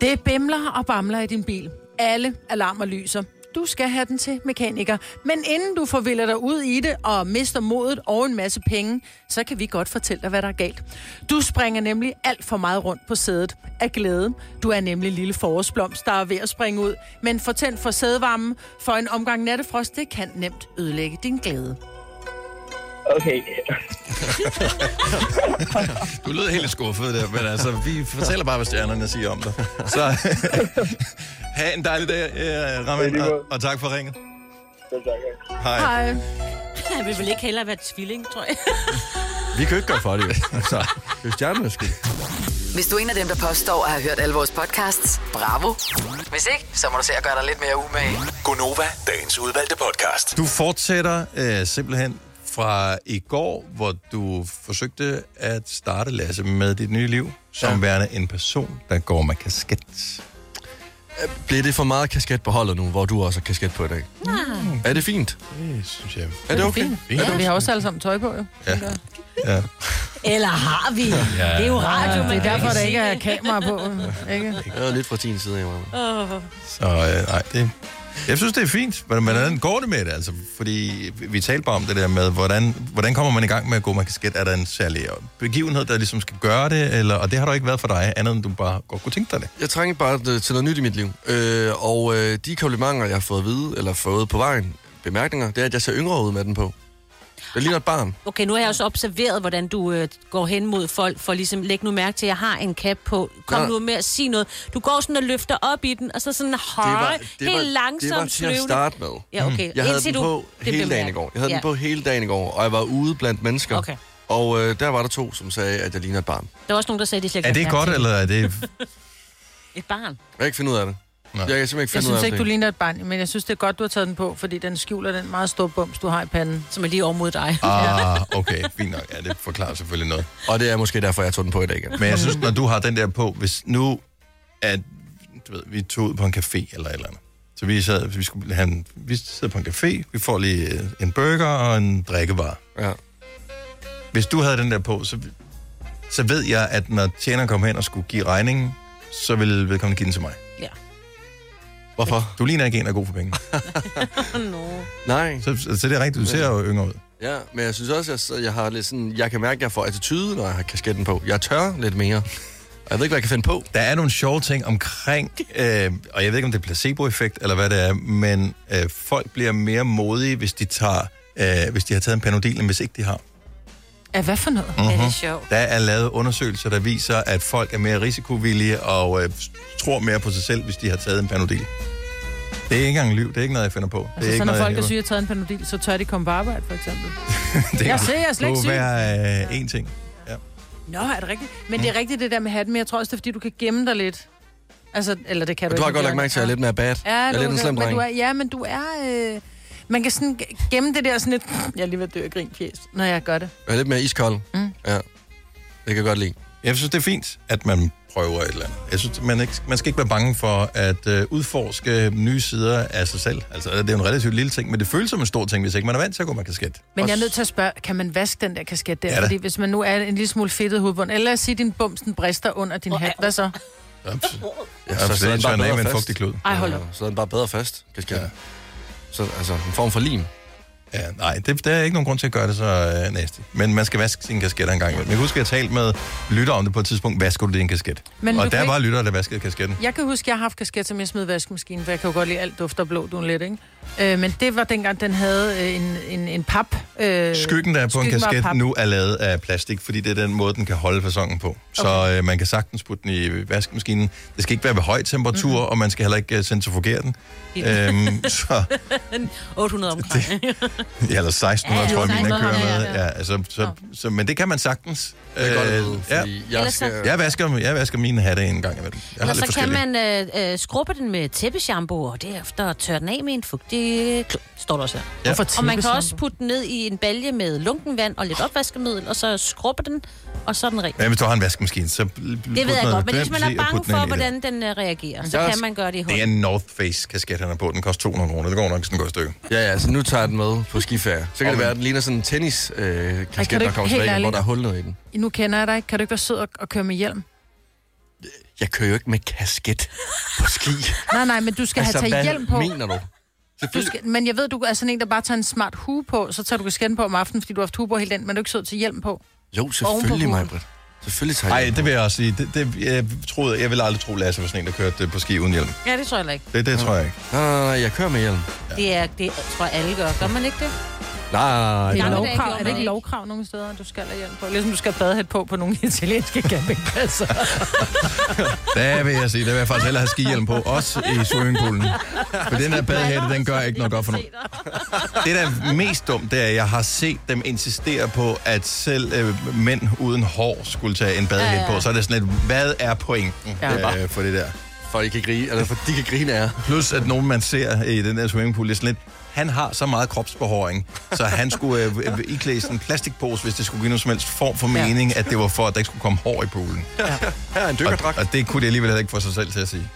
B: Det bimler og bamler i din bil. Alle alarmer lyser. Du skal have den til mekaniker. Men inden du forvilder dig ud i det og mister modet og en masse penge, så kan vi godt fortælle dig, hvad der er galt. Du springer nemlig alt for meget rundt på sædet af glæde. Du er nemlig lille forårsblomst, der er ved at springe ud. Men fortænd for sædevarmen, for en omgang nattefrost, det kan nemt ødelægge din glæde.
G: Okay.
A: Du lød helt skuffet der, men altså, vi fortæller bare, hvad stjernerne siger om dig. Så ha' en dejlig dag, eh,
G: Ja,
A: Ramin,
G: lige
A: og,
G: måde.
A: og tak for ringet.
G: Selv tak. ja.
A: Hej.
B: Hej.
D: Jeg vil vel ikke hellere være tvilling, tror jeg.
C: Vi kan jo ikke gøre for det, jo. Så, det er jo stjernerne skyld.
E: Hvis du er en af dem, der påstår at have hørt alle vores podcasts, bravo. Hvis ikke, så må du se at gøre dig lidt mere umage.
F: Gonova, dagens udvalgte podcast.
A: Du fortsætter øh, simpelthen fra i går, hvor du forsøgte at starte, Lasse, med dit nye liv, som ja. værende en person, der går med kasket.
C: Bliver det for meget kasket på holdet nu, hvor du også har kasket på i dag? Nej. Er det fint?
A: Det synes jeg.
C: Er det okay?
A: Fint.
B: Ja, vi har også alle sammen tøj på, jo.
A: Ja. Ja.
D: Eller har vi? Ja. Det er jo radio, man
B: Det er
D: kan
B: derfor, der
D: sige
B: ikke er
D: det.
B: kamera på. Ikke?
C: Jeg er lidt fra din side, Emma.
A: Så øh, nej, det... Jeg synes, det er fint, men men hvordan går det med det? Altså, fordi vi- vi talte bare om det der med, hvordan, hvordan kommer man i gang med at gå med kasket? Er der en særlig begivenhed, der ligesom skal gøre det? Eller, og det har der ikke været for dig, andet end du bare godt kunne tænke dig det.
C: Jeg trænger bare øh, til noget nyt i mit liv. Øh, og øh, de komplimenter, jeg har fået at vide, eller fået på vejen, bemærkninger, det er, at jeg ser yngre ud med den på. Jeg ligner et barn.
D: Okay, nu har jeg også observeret, hvordan du øh, går hen mod folk, for ligesom, læg nu mærke til, at jeg har en cap på. Kom
C: Ja.
D: nu med at sige noget. Du går sådan og løfter op i den, og så sådan høj, helt langsomt
C: det var til at
D: sløvende.
C: starte med. Mm.
D: Ja, okay.
C: Jeg havde
D: Indtil
C: den
D: du-
C: på
D: det
C: hele
D: blev
C: dagen i
D: mærket.
C: går. Jeg havde
D: Ja.
C: den på hele dagen i går, og jeg var ude blandt mennesker.
D: Okay.
C: Og øh, der var der to, som sagde, at jeg ligner et barn.
D: Der var også nogen, der sagde, at de slet
A: Er
D: ikke havde
A: det
D: mærke
A: godt,
D: til
A: eller er det...
D: Et barn.
C: Jeg kan ikke finde ud af det.
A: Nej.
C: Jeg kan simpelthen ikke
B: Jeg
C: finde ud af
B: synes ikke,
C: det.
B: du ligner et barn, men jeg synes, det er godt, du har taget den på, fordi den skjuler den meget store bums, du har i panden.
D: Som er lige over mod dig.
A: Ah, okay, fint nok. Ja, det forklarer selvfølgelig noget.
C: Og det er måske derfor, jeg tog den på i dag igen.
A: Men jeg synes, når du har den der på, hvis nu at du ved, vi tog ud på en café eller et eller andet, så vi, sad, vi, skulle have en, vi sidder på en café, vi får lige øh, en burger og en drikkevare.
C: Ja.
A: Hvis du havde den der på, så, så ved jeg, at når tjeneren kom hen og skulle give regningen, så ville vedkommende give den til mig.
D: Ja.
C: Hvorfor?
A: Du ligner ikke en, der er god for penge.
D: Nå.
C: Nej.
A: Så, så det er rigtigt, du ser jo yngre ud.
C: Ja, men jeg synes også, at jeg, så- jeg har lidt sådan... Jeg kan mærke, at jeg får attitude, når jeg har kasketten på. Jeg tør lidt mere. Og jeg ved ikke, hvad jeg kan finde på.
A: Der er nogle sjove ting omkring, øh, og jeg ved ikke, om det er placeboeffekt eller hvad det er, men øh, folk bliver mere modige, hvis de tager øh, hvis de har taget en panodil, end hvis ikke de har.
B: Ja, hvad for
C: Mm.
B: noget?
D: Ja, det er sjovt.
A: Der er lavet undersøgelser, der viser, at folk er mere risikovillige og øh, tror mere på sig selv, hvis de har taget en panodil. Det er ikke engang liv, det er ikke noget, jeg finder på. det er
B: Altså,
A: ikke
B: så når
A: noget,
B: folk
A: jeg
B: er syge og taget en panodil, så tør de komme på arbejde, for eksempel.
A: det
B: Jeg ser, jeg er slet ikke syg.
A: Det være øh, én ting.
B: Nå, er det rigtigt?
C: Mm.
B: Men det er rigtigt det der med hatten, men jeg tror også, det er, fordi du kan gemme dig lidt. Altså, eller det kan du,
C: Du har
B: ikke,
C: godt lagt
B: Bjørn.
C: mærke til, at jeg er lidt mere bad.
B: Ja,
C: jeg er
B: du,
C: lidt en slem
B: men
C: dreng.
B: du er, ja, men du er... Øh, man kan sådan g- gemme det der sådan lidt... Jeg er lige ved at dø af grin, fjes, når jeg gør det.
C: Jeg er lidt mere iskold. Mm. Ja. Det kan jeg godt lide.
A: Jeg synes, det er fint, at man prøver et eller andet. Jeg synes, man, ikke, man skal ikke være bange for at øh, udforske nye sider af sig selv. Altså, det er jo en relativt lille ting, men det føles som en stor ting, hvis ikke man er vant til at gå med kasket.
B: Men jeg er nødt til at spørge, kan man vaske den der kasket der?
A: Ja da.
B: Fordi hvis man nu er en lille smule fedtet hovedbund, eller lad os sige, din bumsen brister under din hat, hvad så?
A: Ups.
C: Ja,
A: så sidder den bare bedre fast.
B: Ej, hold op.
C: Ja, så er den bare bedre fast, kasketten.
A: Ja.
C: Ja. Så altså, en form for lim.
A: Ja, nej, det, der er ikke nogen grund til at gøre det så øh, næste. Men man skal vaske sine kasketter en gang imellem. Jeg kan huske, at jeg talte med lytter om det på et tidspunkt. Vasker du din kasket?
B: Men
A: Men og
B: du
A: der
B: kan
A: var ikke... lytter, der vaskede kasketten.
B: Jeg kan huske, jeg har haft kasket, som jeg smed i vaskemaskinen, for jeg kan jo godt lide alt dufter blå, du er lidt, ikke? Øh, men det var dengang, den havde øh, en, en, en pap. Øh,
A: Skyggen, der er på en
B: skyggen var
A: kasket
B: pap.
A: nu, er lavet af plastik, fordi det er den måde, den kan holde fasongen på. Så øh, man kan sagtens putte den i vaskemaskinen. Det skal ikke være ved høj temperatur, mm-hmm. og man skal heller ikke øh, centrifugere den. øhm, så,
D: 800 omkring.
A: ja, eller 1600,
D: Ja,
A: ja,
D: ja,
A: tror jeg, mine
D: 1600,
A: kører
D: ja,
A: med.
D: ja,
A: Ja, altså, så, så, men det kan man sagtens. Øh,
C: Det er godt at vide,
A: ja.
C: fordi ja. jeg
D: Ellers så-
C: skal...
A: Jeg vasker, jeg vasker mine hatte en gang imellem. Jeg har
D: Eller
A: lidt
D: så kan
A: forskellige.
D: man øh, øh, skrubbe den med tæppeshampoo, og derefter tørre den af med en fugtig klud. Står der også her.
A: Ja.
B: Hvorfor
D: Og man kan
B: tæppeshampoo?
D: også putte den ned i en balje med lunken vand og lidt opvaskemiddel, og så skrubbe den, og så er den ren.
A: Ja, hvis du har en vaskemaskine, så...
D: Det ved jeg godt, men hvis man er bange for, hvordan den øh, reagerer, så
C: Jeg er
D: kan
C: også-
D: man gøre det i
A: Det er
D: hånden.
A: en North Face-kasket, han har på. Den koster 200 kroner. Det går nok, hvis den går i stykke.
C: Ja, ja, så nu tager jeg den med på skiferie. Så kan det
A: Okay.
C: være, at den ligner sådan en tennis øh,
B: kan
C: kasket,
B: du
C: der
B: ikke-
C: kommer
B: helt
C: tilbage, hvor
B: ærligt.
C: der er hul ned i den.
B: Nu kender jeg dig ikke. Kan du ikke være sød og, og køre med hjelm?
C: Jeg kører jo ikke med kasket på ski.
B: Nej, nej, men du skal altså, have taget hjelm på.
C: mener du?
B: Du skal, men jeg ved, du er sådan en, der bare tager en smart hue på, så tager du kasketten på om aftenen, fordi du har haft hue på hele den, men du er ikke sød til hjelm på.
C: Jo,
B: huden.
C: selvfølgelig, Majbrit. Selvfølgelig tager
A: Nej,
C: jeg
A: det vil jeg også sige. Det, det, jeg, troede, jeg ville aldrig tro, Lasse var sådan en, der kørte øh, på ski uden hjelm.
D: Ja, det tror jeg heller ikke.
A: Det, det tror jeg ikke.
C: Nej, nej, nej, jeg kører med hjelm.
D: Det, er, det tror jeg alle gør. Gør man ikke det?
C: Nej,
B: Det er,
C: nej,
D: gamle dage
B: lovkrav.
D: gjorde
B: er det
D: man
B: ikke
D: ikke.
B: lovkrav nogen steder, at du skal have hjelm på? Ligesom du skal have badehæt på på nogle italienske campingpladser.
A: Der vil jeg sige, der vil jeg faktisk hellere have skihjelm på, også i swimmingpoolen. For den der badehætte, den gør ikke noget godt for nogen. Det, der er mest dumt, det er, at jeg har set dem insistere på, at selv øh, mænd uden hår skulle tage en badehætte
D: Ja, ja.
A: på. Så er det sådan lidt, hvad er pointen
B: Ja.
A: øh, for det der?
C: for I kan grine, eller for de kan grine af jer.
A: Plus, at nogen, man ser i den der swimmingpool, det er sådan lidt, han har så meget kropsbehåring, så han skulle øh, øh, iklæde sådan en plastikpose, hvis det skulle give nogen som helst form for
B: Ja.
A: mening, at det var for, at der ikke skulle komme hår i poolen.
C: Her er en
A: Og,
C: dykkerdragt.
A: og det kunne de alligevel heller ikke få sig selv til at sige.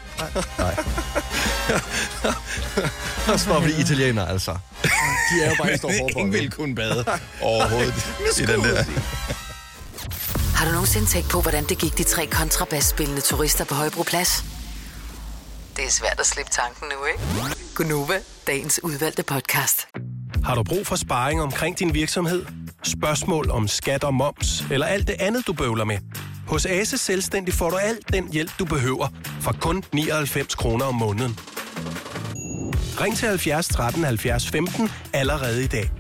C: Også bare fordi italiener, altså. De er jo bare en stor
A: Ingen vil
C: hårbøjle.
A: kunne bade overhovedet i den der.
E: Har du nogensinde tænkt på, hvordan det gik de tre kontrabasspillende turister på Højbroplads? Det er svært at slippe tanken nu, ikke? Gunova, dagens udvalgte podcast.
I: Har du brug for sparring omkring din virksomhed? Spørgsmål om skat og moms, eller alt det andet, du bøvler med? Hos Ase Selvstændig får du alt den hjælp, du behøver, for kun 99 kroner om måneden. Ring til 70 13 70 15 allerede i dag.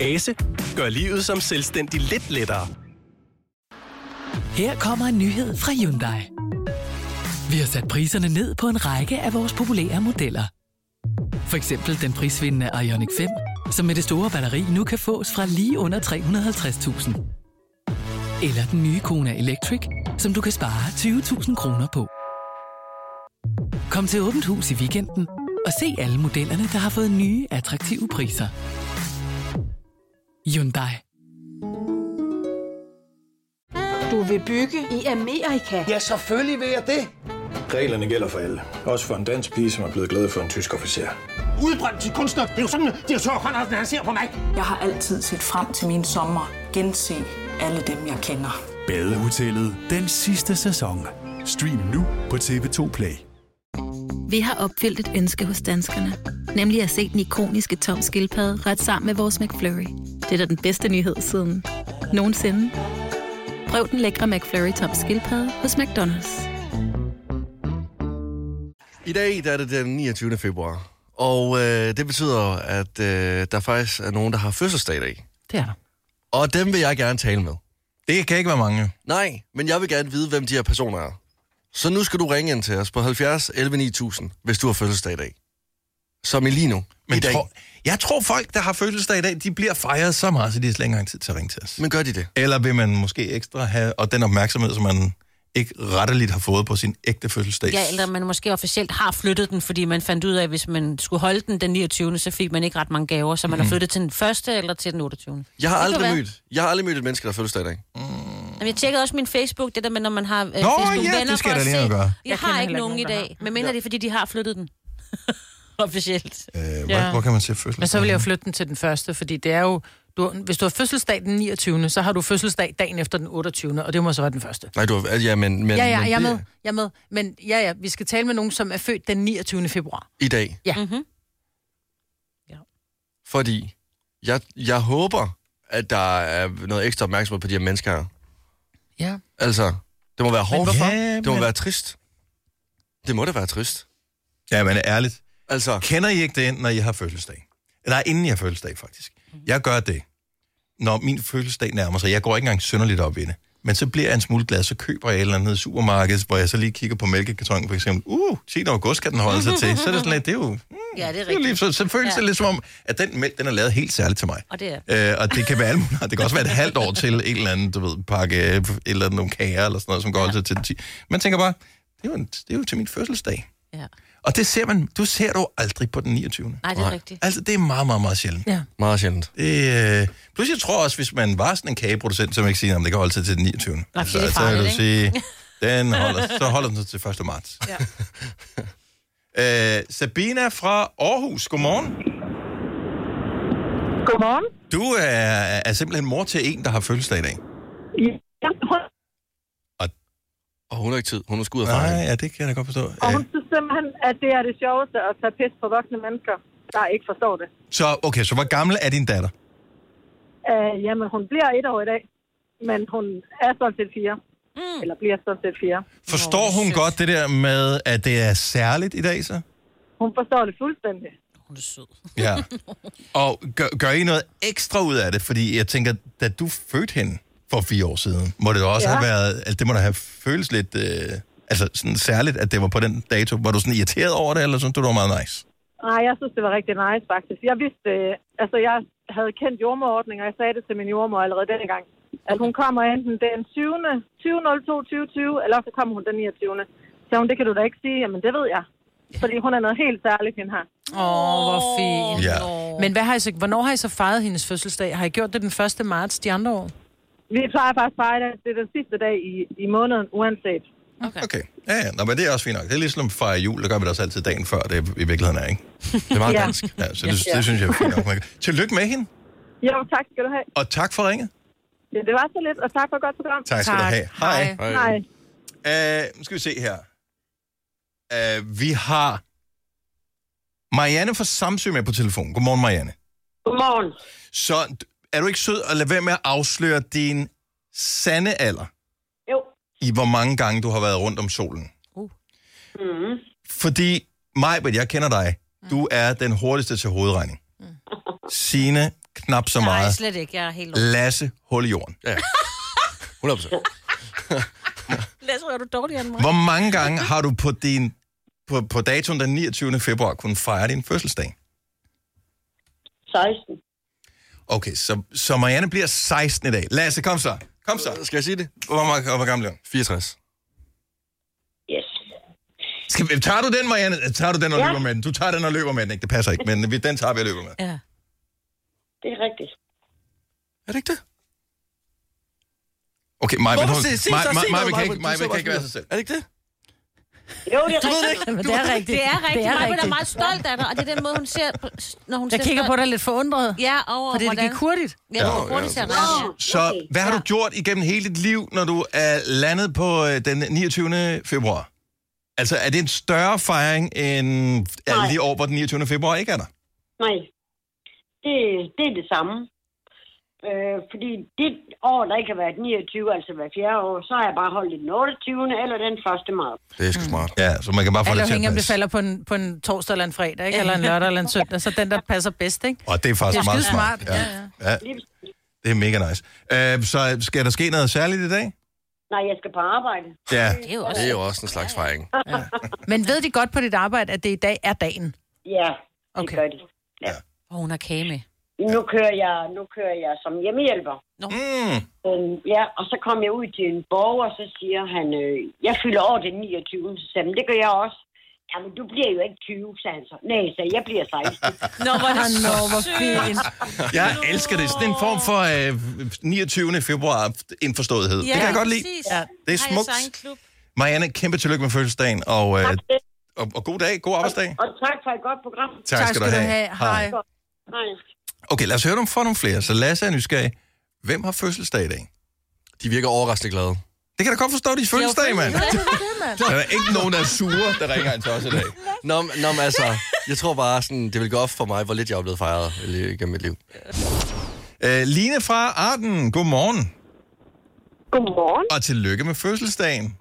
I: Ase gør livet som selvstændig lidt lettere.
J: Her kommer en nyhed fra Hyundai. Vi har sat priserne ned på en række af vores populære modeller. For eksempel den prisvindende Ioniq 5, som med det store batteri nu kan fås fra lige under 350.000. Eller den nye Kona Electric, som du kan spare 20.000 kroner på. Kom til Åbent Hus i weekenden og se alle modellerne, der har fået nye, attraktive priser. Hyundai.
K: Du vil bygge i Amerika? Ja.
I: Reglerne gælder for alle. Også for en dansk pige, som er blevet glad for en tysk officer.
K: Jeg har altid set frem til min sommer. Gense alle dem, jeg kender.
F: Badehotellet den sidste sæson. Stream nu på TV2 Play.
L: Vi har opfyldt et ønske hos danskerne. Nemlig at se den ikoniske tom skildpadde ret sammen med vores McFlurry. Det er da den bedste nyhed siden nogensinde. Prøv den lækre McFlurry tom skildpadde hos McDonald's.
C: I dag der er det den 29. februar. Og øh, det betyder, at øh, der faktisk er nogen, der har fødselsdag i dag.
B: det er der.
C: Og dem vil jeg gerne tale med.
A: Det kan ikke være mange.
C: Nej, men jeg vil gerne vide, hvem de her personer er. Så nu skal du ringe ind til os på 70 11 9000, hvis du har fødselsdag i dag. Som Elino
A: Men
C: i dag.
A: tror, jeg tror, folk, der har fødselsdag i dag, de bliver fejret så meget, så de har slet ikke engang tid til at ringe til os.
C: Men gør de det?
A: Eller vil man måske ekstra have, og den opmærksomhed, som man ikke retteligt har fået på sin ægte fødselsdag.
D: Ja, eller man måske officielt har flyttet den, fordi man fandt ud af, at hvis man skulle holde den den 29., så fik man ikke ret mange gaver, så man
B: Mhm.
D: har flyttet til den første eller til den 28.
C: Jeg har
D: Det kan
C: aldrig
D: være.
C: mødt, jeg har aldrig mødt et menneske, der har fødselsdag i dag.
D: Jamen, jeg tjekkede også min Facebook, det der med, når man har øh,
A: ja,
D: Facebook-venner
A: det skal jeg
D: for
A: da
D: at
A: lige
D: se.
A: at gøre. Jeg
D: Jeg, jeg
B: kender
D: har ikke
B: heller
D: nogen i
B: ikke nogen,
D: dag, men mener det er, fordi de har flyttet den. officielt.
A: Øh, hvor,
B: Ja.
A: hvor kan man se fødselsdag?
B: Men så vil jeg jo flytte den til den første, fordi det er jo... Du, hvis du har fødselsdag den 29., så har du fødselsdag dagen efter den 28., og det må så være den første.
C: Nej, du har... Ja, men... men
B: Ja, ja,
C: men
B: jeg er
C: det-
B: med. Jeg er med. Men ja, ja, vi skal tale med nogen, som er født den 29. februar.
C: I dag.
B: Ja.
D: Mhm.
B: Ja.
C: Fordi jeg, jeg håber, at der er noget ekstra opmærksomhed på de her mennesker her.
B: Ja.
C: Altså, det må være hårdt.
A: hvorfor?
C: Det må
A: Jamen.
C: være trist. Det må da være trist.
A: Ja, men ærligt.
C: Altså,
A: Kender I ikke det, når I har fødselsdag? Nej, inden jeg har fødselsdag, faktisk. Jeg gør det, når min fødselsdag nærmer sig. Jeg går ikke engang synderligt op i det. Men så bliver jeg en smule glad, så køber jeg et eller andet i supermarkedet, hvor jeg så lige kigger på mælkekartongen for eksempel. Uh, 10. august skal den holde sig til. Så er det sådan lidt, det er jo... Mm,
D: Ja, det er
A: det er jo lige,
D: rigtigt.
A: så, så føles
D: Ja.
A: det lidt som om, at den mælk, den er lavet helt særligt til mig.
D: Og det er.
A: Øh, og det kan være alt muligt. Det kan også være et halvt år til en eller anden, du ved, pakke øh, et eller andet, nogle kager eller sådan noget, som går ja. til, til 10. Man tænker bare, det er, jo en, det er jo til min fødselsdag.
D: Ja.
A: Og det ser man, du ser du aldrig på den 29.
D: Nej, det er rigtigt.
A: Altså, det er meget, meget, meget sjældent.
B: Ja.
C: Meget sjældent.
A: Det, øh, plus, jeg tror også, hvis man var sådan en kageproducent, som ikke siger, om det kan holde sig til den 29. Nej,
D: fordi det er farligt,
A: så vil du
D: ikke?
A: sige, den holder, så holder den sig til 1. marts. Ja. øh, Sabina fra Aarhus, godmorgen.
M: Godmorgen.
A: Du er, er simpelthen mor til en, der har fødselsdag i dag.
M: Ja, hun,
C: Og hun har ikke tid. Hun er skudt af
A: Nej, ja, det kan jeg da godt forstå.
M: og hun synes simpelthen, at det er det sjoveste at tage pis på voksne mennesker, der ikke forstår det.
A: Så, okay, så hvor gammel er din datter?
M: Uh, jamen, hun bliver et år i dag, men hun er sådan set fire. Mm. Eller bliver sådan set fire.
A: Forstår hun godt det der med, at det er særligt i dag, så?
M: Hun forstår det fuldstændig.
D: Hun er sød.
A: Ja. Og gør, gør I noget ekstra ud af det? Fordi jeg tænker, da du fødte hende for fire år siden, må det jo også
M: Ja.
A: ja. have været, altså, det må da have føles lidt, øh, altså sådan særligt, at det var på den dato. Var du sådan irriteret over det, eller synes du, det var meget nice?
M: Nej, jeg synes, det var rigtig nice, faktisk. Jeg vidste, øh, altså jeg havde kendt jordmorordning, og jeg sagde det til min jordmor allerede denne gang. At hun kommer enten den 20. 20.02.2020, eller så kommer hun den 29. Så hun, det kan du da ikke sige. Jamen, det ved jeg. Fordi hun er noget helt særligt, hende her.
B: Åh, oh, hvor fint.
A: Ja.
B: Men hvad har I så, hvornår har I så fejret hendes fødselsdag? Har I gjort det den 1. marts de andre år?
M: Vi plejer faktisk bare, at det er den sidste dag i, i måneden, uanset.
A: Okay. okay. Ja, ja. Nå, men det er også fint nok. Det er ligesom fejre jul, der gør vi det også altid dagen før, det i virkeligheden er, ikke? Det er
M: meget Ja.
A: dansk. Ja, så det, det synes jeg er fint nok. Men- Tillykke med hende,
M: Jo, tak skal du have.
A: og tak for ringet.
M: Ja, det var så lidt, og tak for et godt program.
A: Tak skal du have. Hej.
M: Hej.
A: Uh, nu skal vi se her. Uh, vi har Marianne fra Samsø med på telefonen. Godmorgen, Marianne.
N: Godmorgen.
A: Så d- er du ikke sød at lade være med at afsløre din sande alder?
N: Jo.
A: I hvor mange gange du har været rundt om solen?
N: Mm.
A: Fordi, Majbert, jeg kender dig. Du er den hurtigste til hovedregning. Sine knap så
D: Nej,
A: meget.
D: slet ikke. Jeg er helt lort.
A: Lasse, hul i jorden. Ja. 100%.
D: Lasse, er du dårligere end mig?
A: Hvor mange gange har du på, din, på, på datoen den 29. februar kunnet fejre din fødselsdag?
N: 16.
A: Okay, så, så Marianne bliver 16 i dag. Lasse, kom så. Kom så. Skal jeg sige det? Hvor, mange, hvor gammel er hun? 64.
N: Yes.
A: Skal, vi- tager du den, Marianne? Øh, Tager du den og
N: Ja.
A: løber med den? Du tager den og løber med den, ikke? Det passer ikke, men vi- den tager vi og løber med.
D: Ja.
N: Det er rigtigt.
A: Er det ikke det? Okay, mig,
C: Hvorfor
A: hun,
C: sig- sig-
A: mig,
C: sig- sig
A: mig, mig,
C: noget,
A: mig, kan
C: Maj-Brit.
A: ikke,
C: Du
A: mig,
C: sidder
A: kan
C: bare
A: ikke være
C: og
A: sig
C: smider.
A: selv.
C: Er det ikke det?
N: Jo,
C: det er Du ved det rigtigt. ikke.
B: Men det er rigtigt.
D: Det er
B: Det
D: rigtigt.
B: er
D: Maja er
B: rigtigt.
D: meget stolt af dig, og det er den måde, hun ser... Når hun
B: Jeg
D: ser
B: kigger
D: stolt-
B: på dig lidt forundret.
D: Ja, over
B: Fordi det
D: hvordan-
B: gik hurtigt.
D: Ja, hvor hurtigt ser dig.
A: Så hvad har du gjort igennem hele dit liv, når du er landet på øh, den 29. februar? Altså, er det en større fejring end alle de år, hvor den 29. februar ikke er der?
N: Nej. Det, det er det samme. Øh, fordi det år, der ikke har været 29, altså hver fjerde år, så har jeg bare holdt den 28. eller den 1. marts.
A: Det er sgu smart. Ja, så man kan bare få
B: Alt
A: det til
B: afhængig
A: at
B: om det
A: passe.
B: falder på en, på en torsdag eller en fredag, ikke? eller en lørdag eller en søndag. Så den, der passer bedst, ikke?
A: Og det er faktisk
B: Det er
A: meget
B: skidesmart.
A: smart. Ja. Ja. Det er mega nice. Øh, så skal der ske noget særligt i dag?
N: Nej, jeg skal på arbejde.
A: Ja,
N: Det er jo også-
C: det er jo også en slags fejring.
B: Ja. Men ved de godt på dit arbejde, at det i dag er dagen?
N: Ja, det okay. gør de.
D: Og hun har kage med.
N: Nu kører jeg, nu kører jeg som hjemmehjælper.
A: Mm.
N: Øhm, ja, og så kom jeg ud til en borger, og så siger han, øh, jeg fylder over den 29. Så sagde han, det gør jeg også. Jamen, du bliver jo ikke 20, sagde han så. Nej, så jeg bliver 16.
B: Nå, hvor er det Ah, nå, hvor sødt. fint.
A: Jeg elsker det. Sådan en form for øh, 29. februar indforståethed. det kan jeg godt lide.
D: præcis. Ja.
A: Det er smukt.
D: Har jeg så en klub?
A: Marianne, kæmpe tillykke med fødselsdagen, og, øh, og, og god dag, god arbejdsdag.
N: Og tak for et godt program.
A: Tak Tak skal du skal du have. have. Hej.
N: Hej.
A: Okay, lad os høre dem fra nogle flere. Så Lasse er nysgerrig. Hvem har fødselsdag i dag? De virker overraskende glade. Det kan jeg da godt forstå, de er fødselsdag, mand. Der er ikke nogen, der er sure, der ringer ind til os i dag.
C: Nå, men- nå, men altså, jeg tror bare, sådan, det vil gå op for mig, hvor lidt jeg er blevet fejret i li- gennem mit liv.
A: Øh, Line fra Arden, godmorgen.
O: Godmorgen.
A: Og tillykke med fødselsdagen.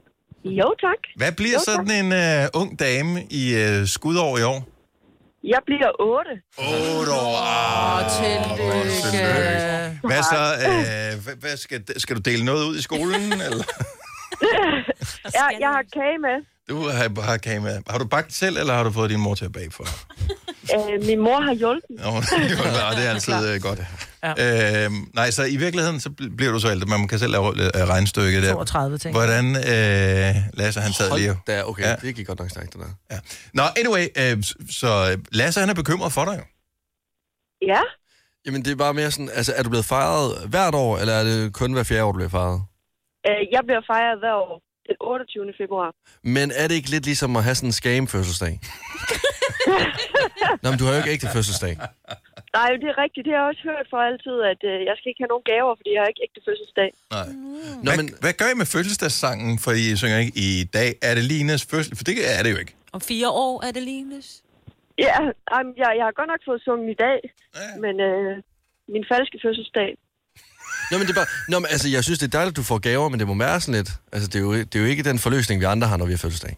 O: Jo, tak.
A: Hvad bliver
O: Jo, tak.
A: sådan en øh, ung dame i øh, skudår i år?
O: Jeg bliver 8.
A: 8 år.
O: Åh, tillykke.
A: Hvad så? Øh, hvad, hvad skal, skal du dele noget ud i skolen? eller?
O: jeg, jeg har kage med.
A: Du har, har, kage med. har du bagt selv, eller har du fået din mor til at bage for dig?
O: Øh, min mor har hjulpet.
A: Nå, det er godt. det er altid øh, godt. Ja. Øhm, nej, så i virkeligheden, så bl- bliver du så ældre, men man kan selv lave øh, regnstykket der.
B: 32, tænker jeg.
A: Hvordan, øh, Lasse, han sad lige...
C: Da, okay,
A: Ja.
C: ja. det gik godt nok stærkt, det der.
A: Ja. Nå, anyway, øh, s- så øh, Lasse, han er bekymret for dig jo.
O: Ja.
C: Jamen, det er bare mere sådan, altså, er du blevet fejret hvert år, eller er det kun hver fjerde år, du bliver fejret?
O: Øh, jeg bliver fejret hver år den 28. februar.
C: Men er det ikke lidt ligesom at have sådan en scam-fødselsdag? Nå, men du har jo ikke ægte fødselsdag.
O: Nej, det er rigtigt. Det har jeg også hørt for altid, at øh, jeg skal ikke have nogen gaver, fordi jeg har ikke ægte fødselsdag.
A: Nej. Nå, hvad, men... hvad gør I med fødselsdagssangen, for I synger ikke i dag? Er det Linas fødsel? For det er det jo ikke.
D: Om fire år er det Lines.
O: Ja, ej, men jeg, jeg har godt nok fået sunget i dag, men øh, min falske fødselsdag.
C: Nå, men det er bare, nå, men, altså, jeg synes, det er dejligt, at du får gaver, men det må være sådan lidt. Altså, det er jo, det er jo ikke den forløsning, vi andre har, når vi har fødselsdag.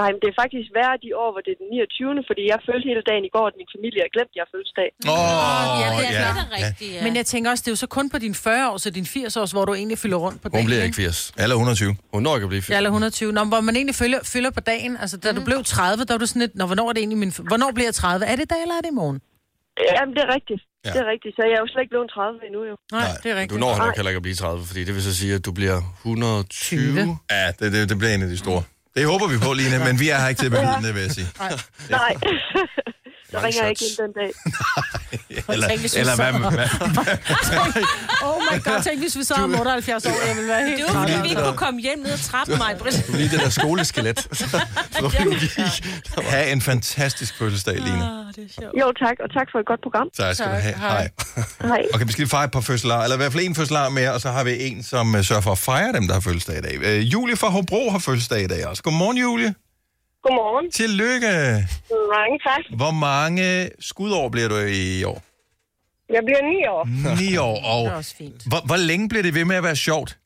O: Nej, men det er faktisk værre de år, hvor det er den 29. Fordi jeg følte hele dagen i går, at min familie har glemt, at jeg har fødselsdag.
A: Åh,
B: ja, det er
A: ja,
B: det,
A: der rigtigt,
B: Men jeg tænker også, det er jo så kun på din 40 års og din 80 års, hvor du egentlig fylder rundt på dagen.
C: Hun bliver
B: ikke?
C: ikke 80.
A: Eller 120.
C: Hun når ikke at blive 80.
B: Ja, eller 120. Nå, men hvor man egentlig følger, fylder på dagen. Altså, da du blev 30, der var du sådan lidt, Nå, hvornår er det egentlig min... f- Hvornår bliver jeg 30? Er det i dag, eller er det i morgen?
O: Jamen, det er rigtigt.
C: Ja.
O: Ja. Det er rigtigt. Så jeg er jo slet ikke blevet 30 endnu, jo.
B: Nej, det er
C: Du når nok heller ikke at blive 30, fordi det vil så sige, at du bliver 120.
A: Ja, det, det, det bliver en af de store. Det håber vi på, Lina, men vi er her ikke til at bevidne det, vil jeg sige.
O: Nej. Nej. Så ringer jeg ikke ind den dag.
A: Eller,
B: Tænk, hvis vi
A: eller
B: så-
A: hvad, hvad,
B: oh my god, tænk hvis vi så om 78 år, jeg vil være helt
D: Det var fordi,
B: træt.
D: vi ikke kunne komme hjem ned og trappe mig, Britt.
C: Du er lige det der skoleskelet.
A: Ha' en fantastisk fødselsdag,
O: Ah,
A: Line.
O: Jo, tak. Og tak for et godt program.
A: Tak skal du have. Hej.
O: Hej.
A: Okay, vi skal lige fejre et par fødselarer, eller i hvert fald en fødselar mere, og så har vi en, som øh, sørger for at fejre dem, der har fødselsdag i dag. Øh, Julie fra Hobro har fødselsdag i dag også. Godmorgen, Julie.
O: Godmorgen.
A: Tillykke.
O: Mange tak.
A: Hvor mange skudår bliver du i år?
O: Jeg bliver 9 år.
A: Ni år. Og
O: Det er også fint.
A: Hvor, hvor længe bliver det ved med at være sjovt?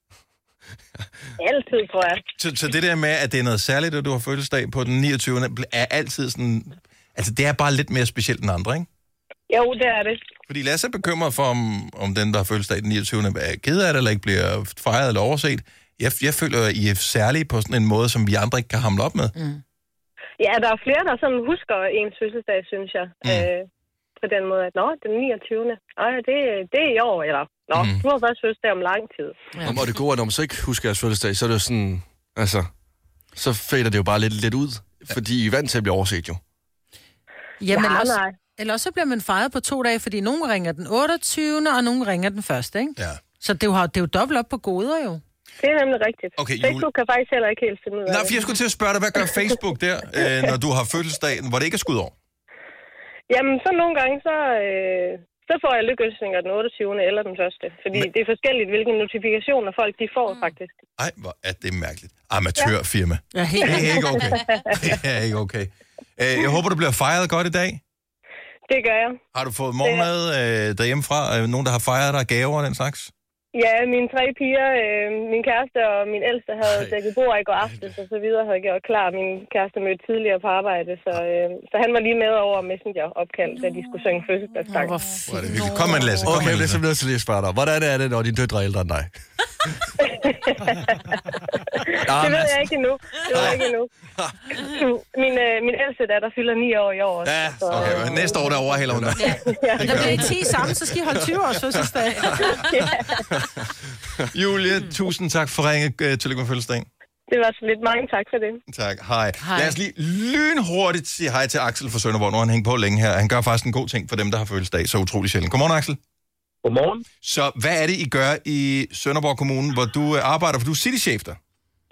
O: Altid, tror jeg.
A: Så, så det der med, at det er noget særligt, at du har fødselsdag på den 29. er altid sådan... Altså, det er bare lidt mere specielt end andre, ikke?
O: Jo, det er det.
A: Fordi Lasse er bekymret for, om, om den, der har fødselsdag den 29. er ked af det, eller ikke bliver fejret eller overset. Jeg, jeg føler, at I er særlige på sådan en måde, som vi andre ikke kan hamle op med. Mm.
O: Ja, der er flere, der sådan husker ens fødselsdag, synes jeg. Mm. Øh, på den måde, at nå, den 29. Nå, ja, det, det er i år, eller nå, mm. du har først fødselsdag om lang tid.
C: Ja. Og det gode er, når man så ikke husker jeres fødselsdag, så er det jo sådan, altså, så fader det jo bare lidt, lidt ud, fordi I er vant til at blive overset jo.
B: Ja, men
O: Ja,
B: også,
O: nej.
B: eller også så bliver man fejret på to dage, fordi nogen ringer den 28. og nogen ringer den første, ikke?
A: Ja.
B: Så det er, jo, det er jo dobbelt op på goder, jo.
O: Det er nemlig rigtigt.
A: Okay, jul-
O: Facebook kan faktisk heller ikke helt finde ud af
A: Nå,
O: det.
A: for jeg skulle til at spørge dig, hvad gør Facebook der, øh, når du har fødselsdagen, hvor det ikke er skudår?
O: Jamen, så nogle gange, så, øh, så får jeg lykkeønsninger den 28. eller den første. Fordi Men... det er forskelligt, hvilke notifikationer folk de får, faktisk.
A: Ej, hvor er det mærkeligt. Amatørfirma.
B: Ja,
A: helt Det er ikke okay. Det er ikke okay. Øh, jeg håber, du bliver fejret godt i dag.
O: Det gør jeg.
A: Har du fået morgenmad øh, derhjemmefra? Øh, nogen, der har fejret dig gaver og den slags?
O: Ja, mine tre piger, øh, min kæreste og min ældste havde dækket bord i går aftes, og så videre havde gjort klar. Min kæreste mødte tidligere på arbejde, så, øh, så han var lige med over Messenger-opkald, da de skulle synge fødselsdagssang.
B: Hvor
A: Hvor er det hyggeligt. Kom, man, Lasse. Kom,
C: Okay,
A: man,
C: jeg bliver
A: Lasse.
C: simpelthen nødt til lige at spørge dig, hvordan er det, når dine døtre er ældre end dig?
O: det ved jeg ikke endnu. Det ved jeg ikke endnu. Min, øh, min ældste datter fylder 9 år i år. også,
A: Ja,
O: så,
A: Okay, men næste år, der overhælder hun dig.
B: Men der bliver I 10 sammen, så skal I holde 20 års fødselsdag.
A: Julie, tusind tak for ringe. Øh, Tillykke med fødselsdagen.
O: det var så lidt. Mange tak for det.
A: Tak, hej. hej.
O: Hej.
A: Lad os lige lynhurtigt sige hej til Axel fra Sønderborg. Nu har han hængt på længe her. Han gør faktisk en god ting for dem, der har fødselsdag så utrolig sjældent. Godmorgen, Axel.
P: Godmorgen.
A: Så hvad er det, I gør i Sønderborg Kommune, hvor du øh, arbejder? For du er citychef der.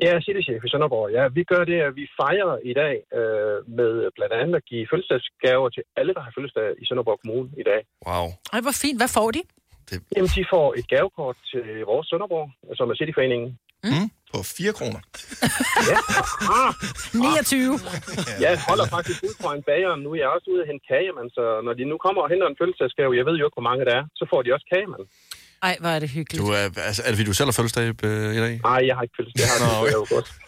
P: Jeg er citychef i Sønderborg. Ja, vi gør det, at vi fejrer i dag øh, med blandt andet at give fødselsdagsgaver til alle, der har fødselsdag i Sønderborg Kommune i dag.
C: Wow.
B: Ej, hvor fint. Hvad får de?
A: Ah.
P: Jamen, de får et gavekort til vores Sønderborg, som er Cityforeningen.
A: Mm. På 4 kroner.
B: 29.
P: Jeg holder faktisk ud fra en bager nu. Jeg er også ude og hente kagemand, så når de nu kommer og henter en fødselsdagsgave, jeg ved jo ikke, hvor mange der er, så får de også kagemand.
B: Ej, hvor er det hyggeligt.
C: Du er, altså, er det fordi, du selv har fødselsdag øh, i dag?
P: Nej, jeg har ikke fødselsdag. Jeg har
C: Nå, okay.
P: fødselsdag i august.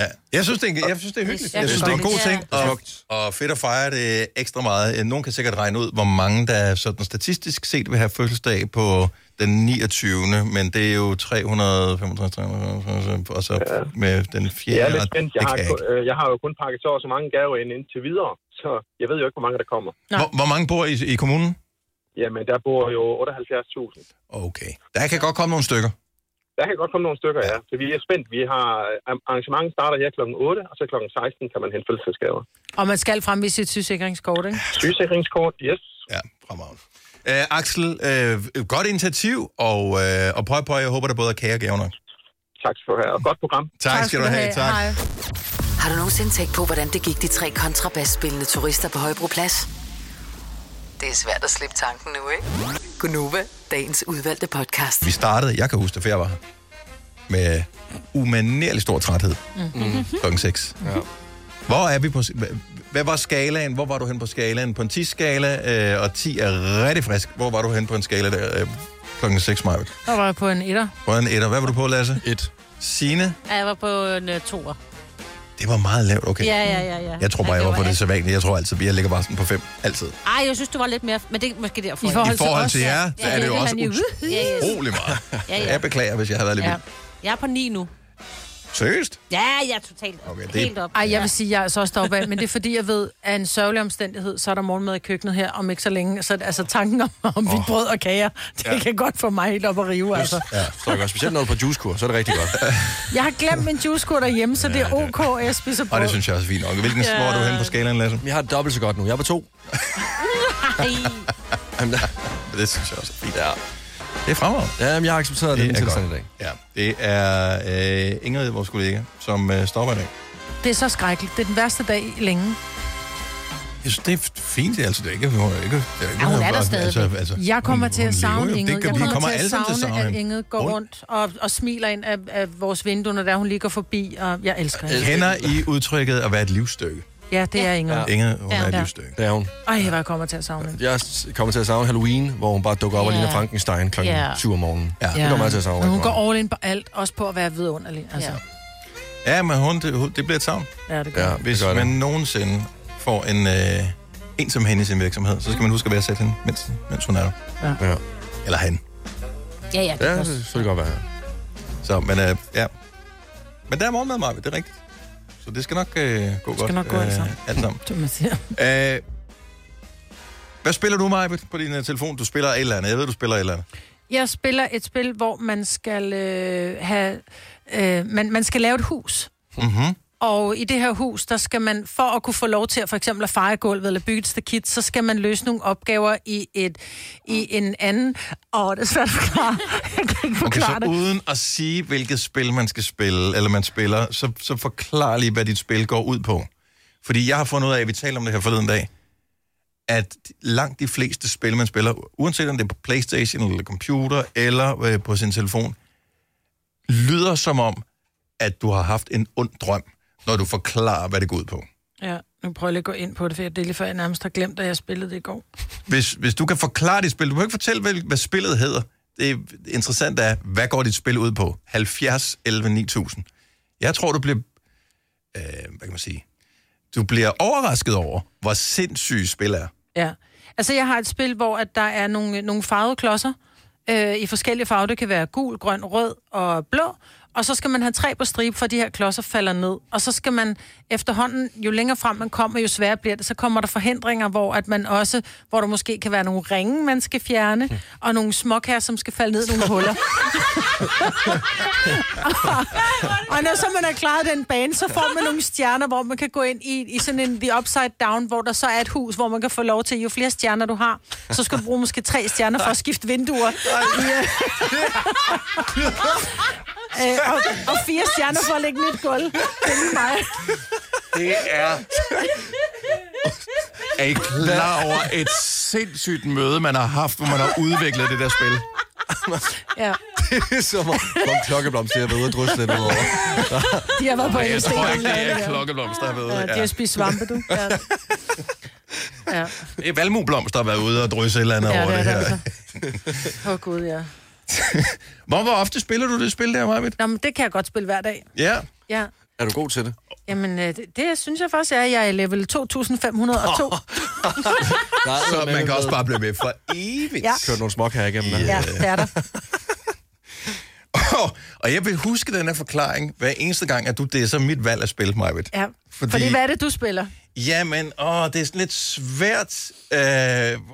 A: Ja. Jeg synes, det er, en- jeg synes, det er hyggeligt.
P: Ja,
A: Jeg synes, det er en god
P: ja.
A: ting, og, og fedt at fejre det ekstra meget. Øh, Nogen kan sikkert regne ud, hvor mange der sådan statistisk set vil have fødselsdag på den 29., men det er jo 365, 365 og så med den
P: Jeg er
A: fjerde,
P: lidt spændt.
A: det
P: Jeg har,
A: kan jeg ikke.
P: kun- øh, jeg har jo kun pakket så og så mange gaver ind indtil videre, så jeg ved jo ikke, hvor mange der kommer.
A: Hvor, hvor mange bor I i kommunen?
P: Jamen, der bor jo 78.000.
A: Okay. Der kan godt komme nogle stykker.
P: Der kan godt komme nogle stykker, ja. Så vi er spændt. Vi har øh, arrangementet starter her kl. 8, og så kl. 16 kan man hente fødselsdagsgaver.
B: Og man skal fremvise sit sygesikringskort, ikke?
P: Sygesikringskort, yes.
A: Ja, fremragende. Øh, Axel, øh, godt initiativ, og, øh, og prøv på, jeg håber, der både er kage og gaver nok.
P: Tak skal du have, og godt program.
A: Tak, tak skal du have, tak.
E: Hej. Har du nogensinde tænkt på, hvordan det gik de tre kontrabasspillende turister på Højbroplads? Det er svært at slippe tanken nu, ikke? Gunova, dagens udvalgte podcast.
A: Vi startede, jeg kan huske det, for jeg var her, med umanerlig stor træthed
E: Mhm.
A: mm. klokken 6. Ja. Hvor er vi på... hva- Hvad var skalaen? Hvor var du hen på skalaen? På en 10-skala, øh, og 10 er rigtig frisk. Hvor var du hen på en skala der, øh, klokken 6, Maja?
B: Der var jeg på en etter.
A: På en etter. Hvad var du på, Lasse? Et. Signe?
D: Ja, jeg var på en uh, toer.
A: Det var meget lavt, okay.
D: Ja, ja, ja, ja.
A: Jeg tror bare,
D: Ja,
A: jeg var
D: det
A: på
D: var
A: det så vanlige. Jeg tror altid, jeg ligger bare sådan på 5. Altid.
D: Ej, jeg synes, du var lidt mere... Men det er måske derfor.
A: I forhold I til forhold os, til ja. jer, så er det jo også
D: Ja, ja.
A: Rolig meget.
D: Ja, ja.
A: Jeg beklager, hvis jeg har været lidt
D: Ja.
A: vild.
D: Jeg er på 9 nu.
A: Seriøst?
D: Ja, jeg er totalt op.
A: Okay, det-
D: Helt op.
B: Ej, jeg vil sige, jeg er så også deroppe af, men det er fordi, jeg ved, at en sørgelig omstændighed, så er der morgenmad i køkkenet her om ikke så længe. Så altså tanken om, om oh. brød og kager, det
C: Ja.
B: ja. kan godt få mig helt op at rive, altså.
C: Ja, så er det godt. Specielt noget på juicekur, så er det rigtig godt.
B: Jeg har glemt min juicekur derhjemme, så det er ok, at jeg spiser brød.
A: Og det synes jeg også er fint nok. Hvilken
B: Ja.
A: ja. er du hen på skalaen, Lasse?
C: Jeg har det dobbelt så godt nu. Jeg er på to.
A: det synes jeg også er fint. Ja. Det er fremragende.
C: Ja, men jeg har accepteret det,
A: er
C: det tilstand i
A: godt.
C: dag.
A: Ja, det er øh, Ingrid, vores kollega, som øh, stopper i dag.
B: Det er så skrækkeligt. Det er den værste dag i længe.
A: Jeg synes, det er fint, altså. Det er ikke, hun er ikke, det er ikke
B: Ja, hun er der
A: altså,
B: stadigvæk.
A: Altså, altså,
B: jeg kommer til at savne
A: lever jo. Det
B: Inget.
A: gør
B: Jeg
A: vi.
B: kommer
A: Kommer
B: til at
A: alle sammen til at
B: savne,
A: savne
B: at
A: hende.
B: Inget går rundt og, og smiler ind af, af vores vindue, når der hun ligger forbi, og jeg elsker hende.
A: Kender I udtrykket at være et livsstykke?
B: Ja, det er Inget.
A: Ja. Ingrid, hun er et
B: Ja.
A: livsstykke.
C: Det er hun.
B: Ej, hvor jeg kommer til at savne hende.
C: Jeg kommer til at savne Halloween, hvor hun bare dukker op yeah.
B: Ja.
C: og ligner Frankenstein kl.
B: Ja.
C: Yeah. 7 om morgenen. Ja. Det kommer jeg til at savne.
B: Men hun
C: rigtig meget.
B: går all in på alt, også på at være vidunderlig. Altså.
A: Ja, men hun, det, hun, det bliver et savn.
B: Ja, det
A: ja, Hvis det man nogensinde får en, øh, en som hende i sin virksomhed, så skal man huske at være sat hende, mens, mens hun er der.
C: Ja. ja.
A: Eller han.
D: Ja, ja, det er også.
C: det kan godt være.
A: Så, men øh, ja. Men der er morgenmad, Marve, det er rigtigt. Så det skal nok øh, gå det godt.
B: skal nok gå altså. alt sammen.
A: alt sammen.
B: Det man siger.
A: Øh, hvad spiller du, Marve, på din øh, telefon? Du spiller et eller andet. Jeg ved, du spiller et eller andet.
B: Jeg spiller et spil, hvor man skal øh, have... Øh, man, man skal lave et hus.
A: Mm-hmm.
B: Og i det her hus, der skal man, for at kunne få lov til at for eksempel at feje gulvet eller bygge et stakit, så skal man løse nogle opgaver i, et, i en anden... Åh, det er svært at forklare. Jeg kan
A: Okay,
B: ikke forklare
A: så
B: det.
A: uden at sige, hvilket spil man skal spille, eller man spiller, så, så forklar lige, hvad dit spil går ud på. Fordi jeg har fundet ud af, at vi talte om det her forleden dag, at langt de fleste spil, man spiller, uanset om det er på Playstation, eller computer, eller øh, på sin telefon, lyder som om, at du har haft en ond drøm, når du forklarer, hvad det går ud på.
B: Ja, nu prøver jeg lige at gå ind på det, for det er lige før, jeg nærmest har glemt, at jeg spillede det i går.
A: Hvis, hvis du kan forklare dit spil, du må ikke fortælle, hvad, hvad spillet hedder. Det interessante er, hvad går dit spil ud på? 70, 11, 9000. Jeg tror, du bliver, øh, hvad kan man sige, du bliver overrasket over, hvor sindssyge spil er.
B: Ja. Altså, jeg har et spil, hvor at der er nogle, nogle farvede klodser øh, i forskellige farver. Det kan være gul, grøn, rød og blå. Og så skal man have tre på stribe, for de her klodser falder ned. Og så skal man efterhånden, jo længere frem man kommer, jo sværere bliver det. Så kommer der forhindringer, hvor, at man også, hvor der måske kan være nogle ringe, man skal fjerne, og nogle småkager, som skal falde ned i nogle huller. og når så man har klaret den bane, så får man nogle stjerner, hvor man kan gå ind i, i sådan en The Upside Down, hvor der så er et hus, hvor man kan få lov til, jo flere stjerner du har, så skal du bruge måske tre stjerner for at skifte vinduer. Øh, og, og fire stjerner for at lægge nyt gulv. Det er lige mig.
C: Det er...
A: Er I klar over et sindssygt møde, man har haft, hvor man har udviklet det der spil?
B: Ja,
C: det er som om om klokkeblomst, jeg har været ude og drysse lidt ud over.
B: de har været på
A: Ej, jeg tror ikke, det er
B: Ja.
A: klokkeblomst, der har været ude.
B: Ja, de har spist svampe, du. Ja. Ja.
A: Det er valmueblomst, der har været ude og drysse et eller andet
B: Ja,
A: over
B: det
A: det,
B: er
A: her.
B: det altså. Åh, oh, Gud, ja.
A: Hvor, hvor ofte spiller du det spil der, Marvitt?
B: Nå, men det kan jeg godt spille hver dag.
A: Ja.
B: Ja.
C: Er du god til det?
B: Jamen, øh, det, det synes jeg faktisk, jeg er. Jeg er level 2502.
A: Så man kan også bare blive med for evigt.
B: Ja.
C: Kørt nogle smok her igennem. der.
B: Ja, det er der.
A: Og jeg vil huske den her forklaring hver eneste gang, at du det er så mit valg at spille, Majbet.
B: Ja.
A: Fordi,
B: Fordi hvad er det, du spiller?
A: Jamen, åh, det er sådan lidt svært øh,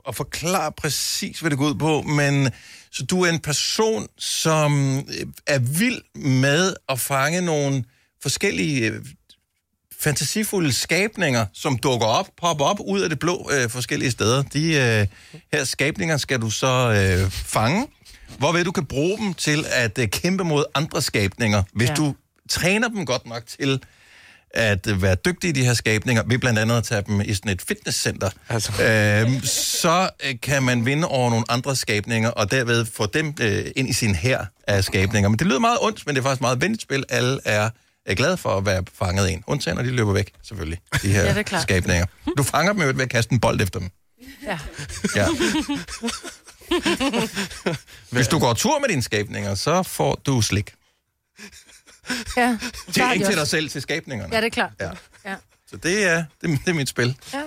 A: at forklare præcis, hvad det går ud på, men så du er en person, som øh, er vild med at fange nogle forskellige øh, fantasifulde skabninger, som dukker op, popper op ud af det blå øh, forskellige steder. De øh, her skabninger skal du så øh, fange, hvorved du kan bruge dem til at øh, kæmpe mod andre skabninger, hvis
Q: Ja.
A: ja. du træner dem godt nok til at øh, være dygtig i de her skabninger, ved blandt andet at tage dem i sådan et fitnesscenter, altså. øhm, så øh, kan man vinde over nogle andre skabninger, og derved få dem øh, ind i sin her af skabninger. Men det lyder meget ondt, men det er faktisk meget venligt spil. Alle er, er glade for at være fanget i en. Undtagen, når de løber væk, selvfølgelig, de her
B: Ja,
A: ja,
B: det er klart.
A: skabninger. Du fanger dem jo ved at kaste en bold efter dem.
B: Ja.
A: Ja. Hvis du går tur med dine skabninger, så får du slik.
B: ja.
A: Det er ikke til dig selv, til skabningerne.
B: Ja, det er klart. Ja.
A: Ja. Så det er, det, er- det er mit spil.
B: ja.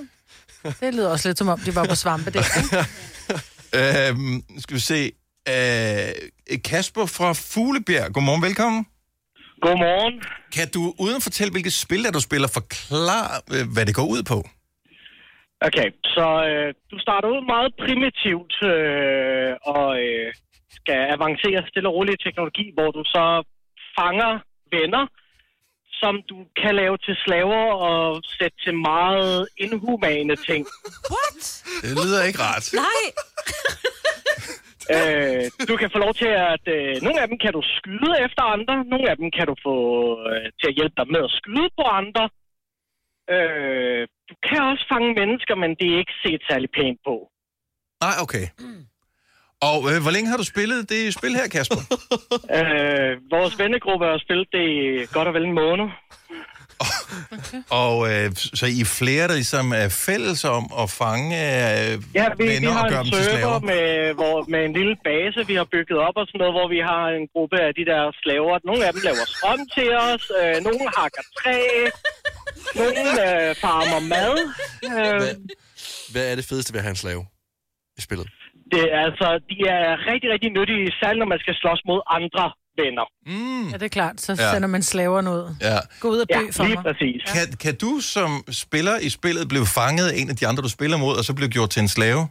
B: Det lyder også lidt som om, de var på svampe. Det.
A: Øhm, skal vi se. Øh, Kasper fra Fuglebjerg. Godmorgen, velkommen. Godmorgen. Kan du, uden at fortælle, hvilket spil der du spiller, forklare, øh, hvad det går ud på?
Q: Okay, så øh, du starter ud meget primitivt øh, og øh, skal avancere stille og roligt i teknologi, hvor du så fanger venner, som du kan lave til slaver og sætte til meget inhumane ting.
D: What?
A: Det lyder ikke rart.
D: Nej.
Q: Øh, du kan få lov til at... Øh, nogle af dem kan du skyde efter andre, nogle af dem kan du få øh, til at hjælpe dig med at skyde på andre. Øh, du kan også fange mennesker, men det er ikke set særlig pænt på.
A: Nej, okay. Og øh, hvor længe har du spillet det spil her, Kasper?
Q: Øh, vores vennegruppe har spillet det i godt og vel en måned.
A: Og øh, så I er flere, der ligesom er fælles om at fange øh,
Q: Ja, vi, vi
A: venner
Q: har
A: og gøre
Q: en
A: dem til
Q: server
A: slaver?
Q: med, hvor, med en lille base, vi har bygget op og sådan noget, hvor vi har en gruppe af de der slaver. Nogle af dem laver strøm til os, øh, nogle hakker træ, nogle øh, farmer mad. Øh,
C: Hvad er det fedeste ved at have en slave i spillet?
Q: det, er altså, de er rigtig, rigtig nyttige, særligt når man skal slås mod andre venner.
A: Mm.
B: Ja, det er klart. Så
A: Ja.
B: sender man slaverne ud.
A: Ja.
B: Gå ud og dø for mig.
Q: præcis.
A: Kan, kan du som spiller i spillet blive fanget af en af de andre, du spiller mod, og så blive gjort til en slave?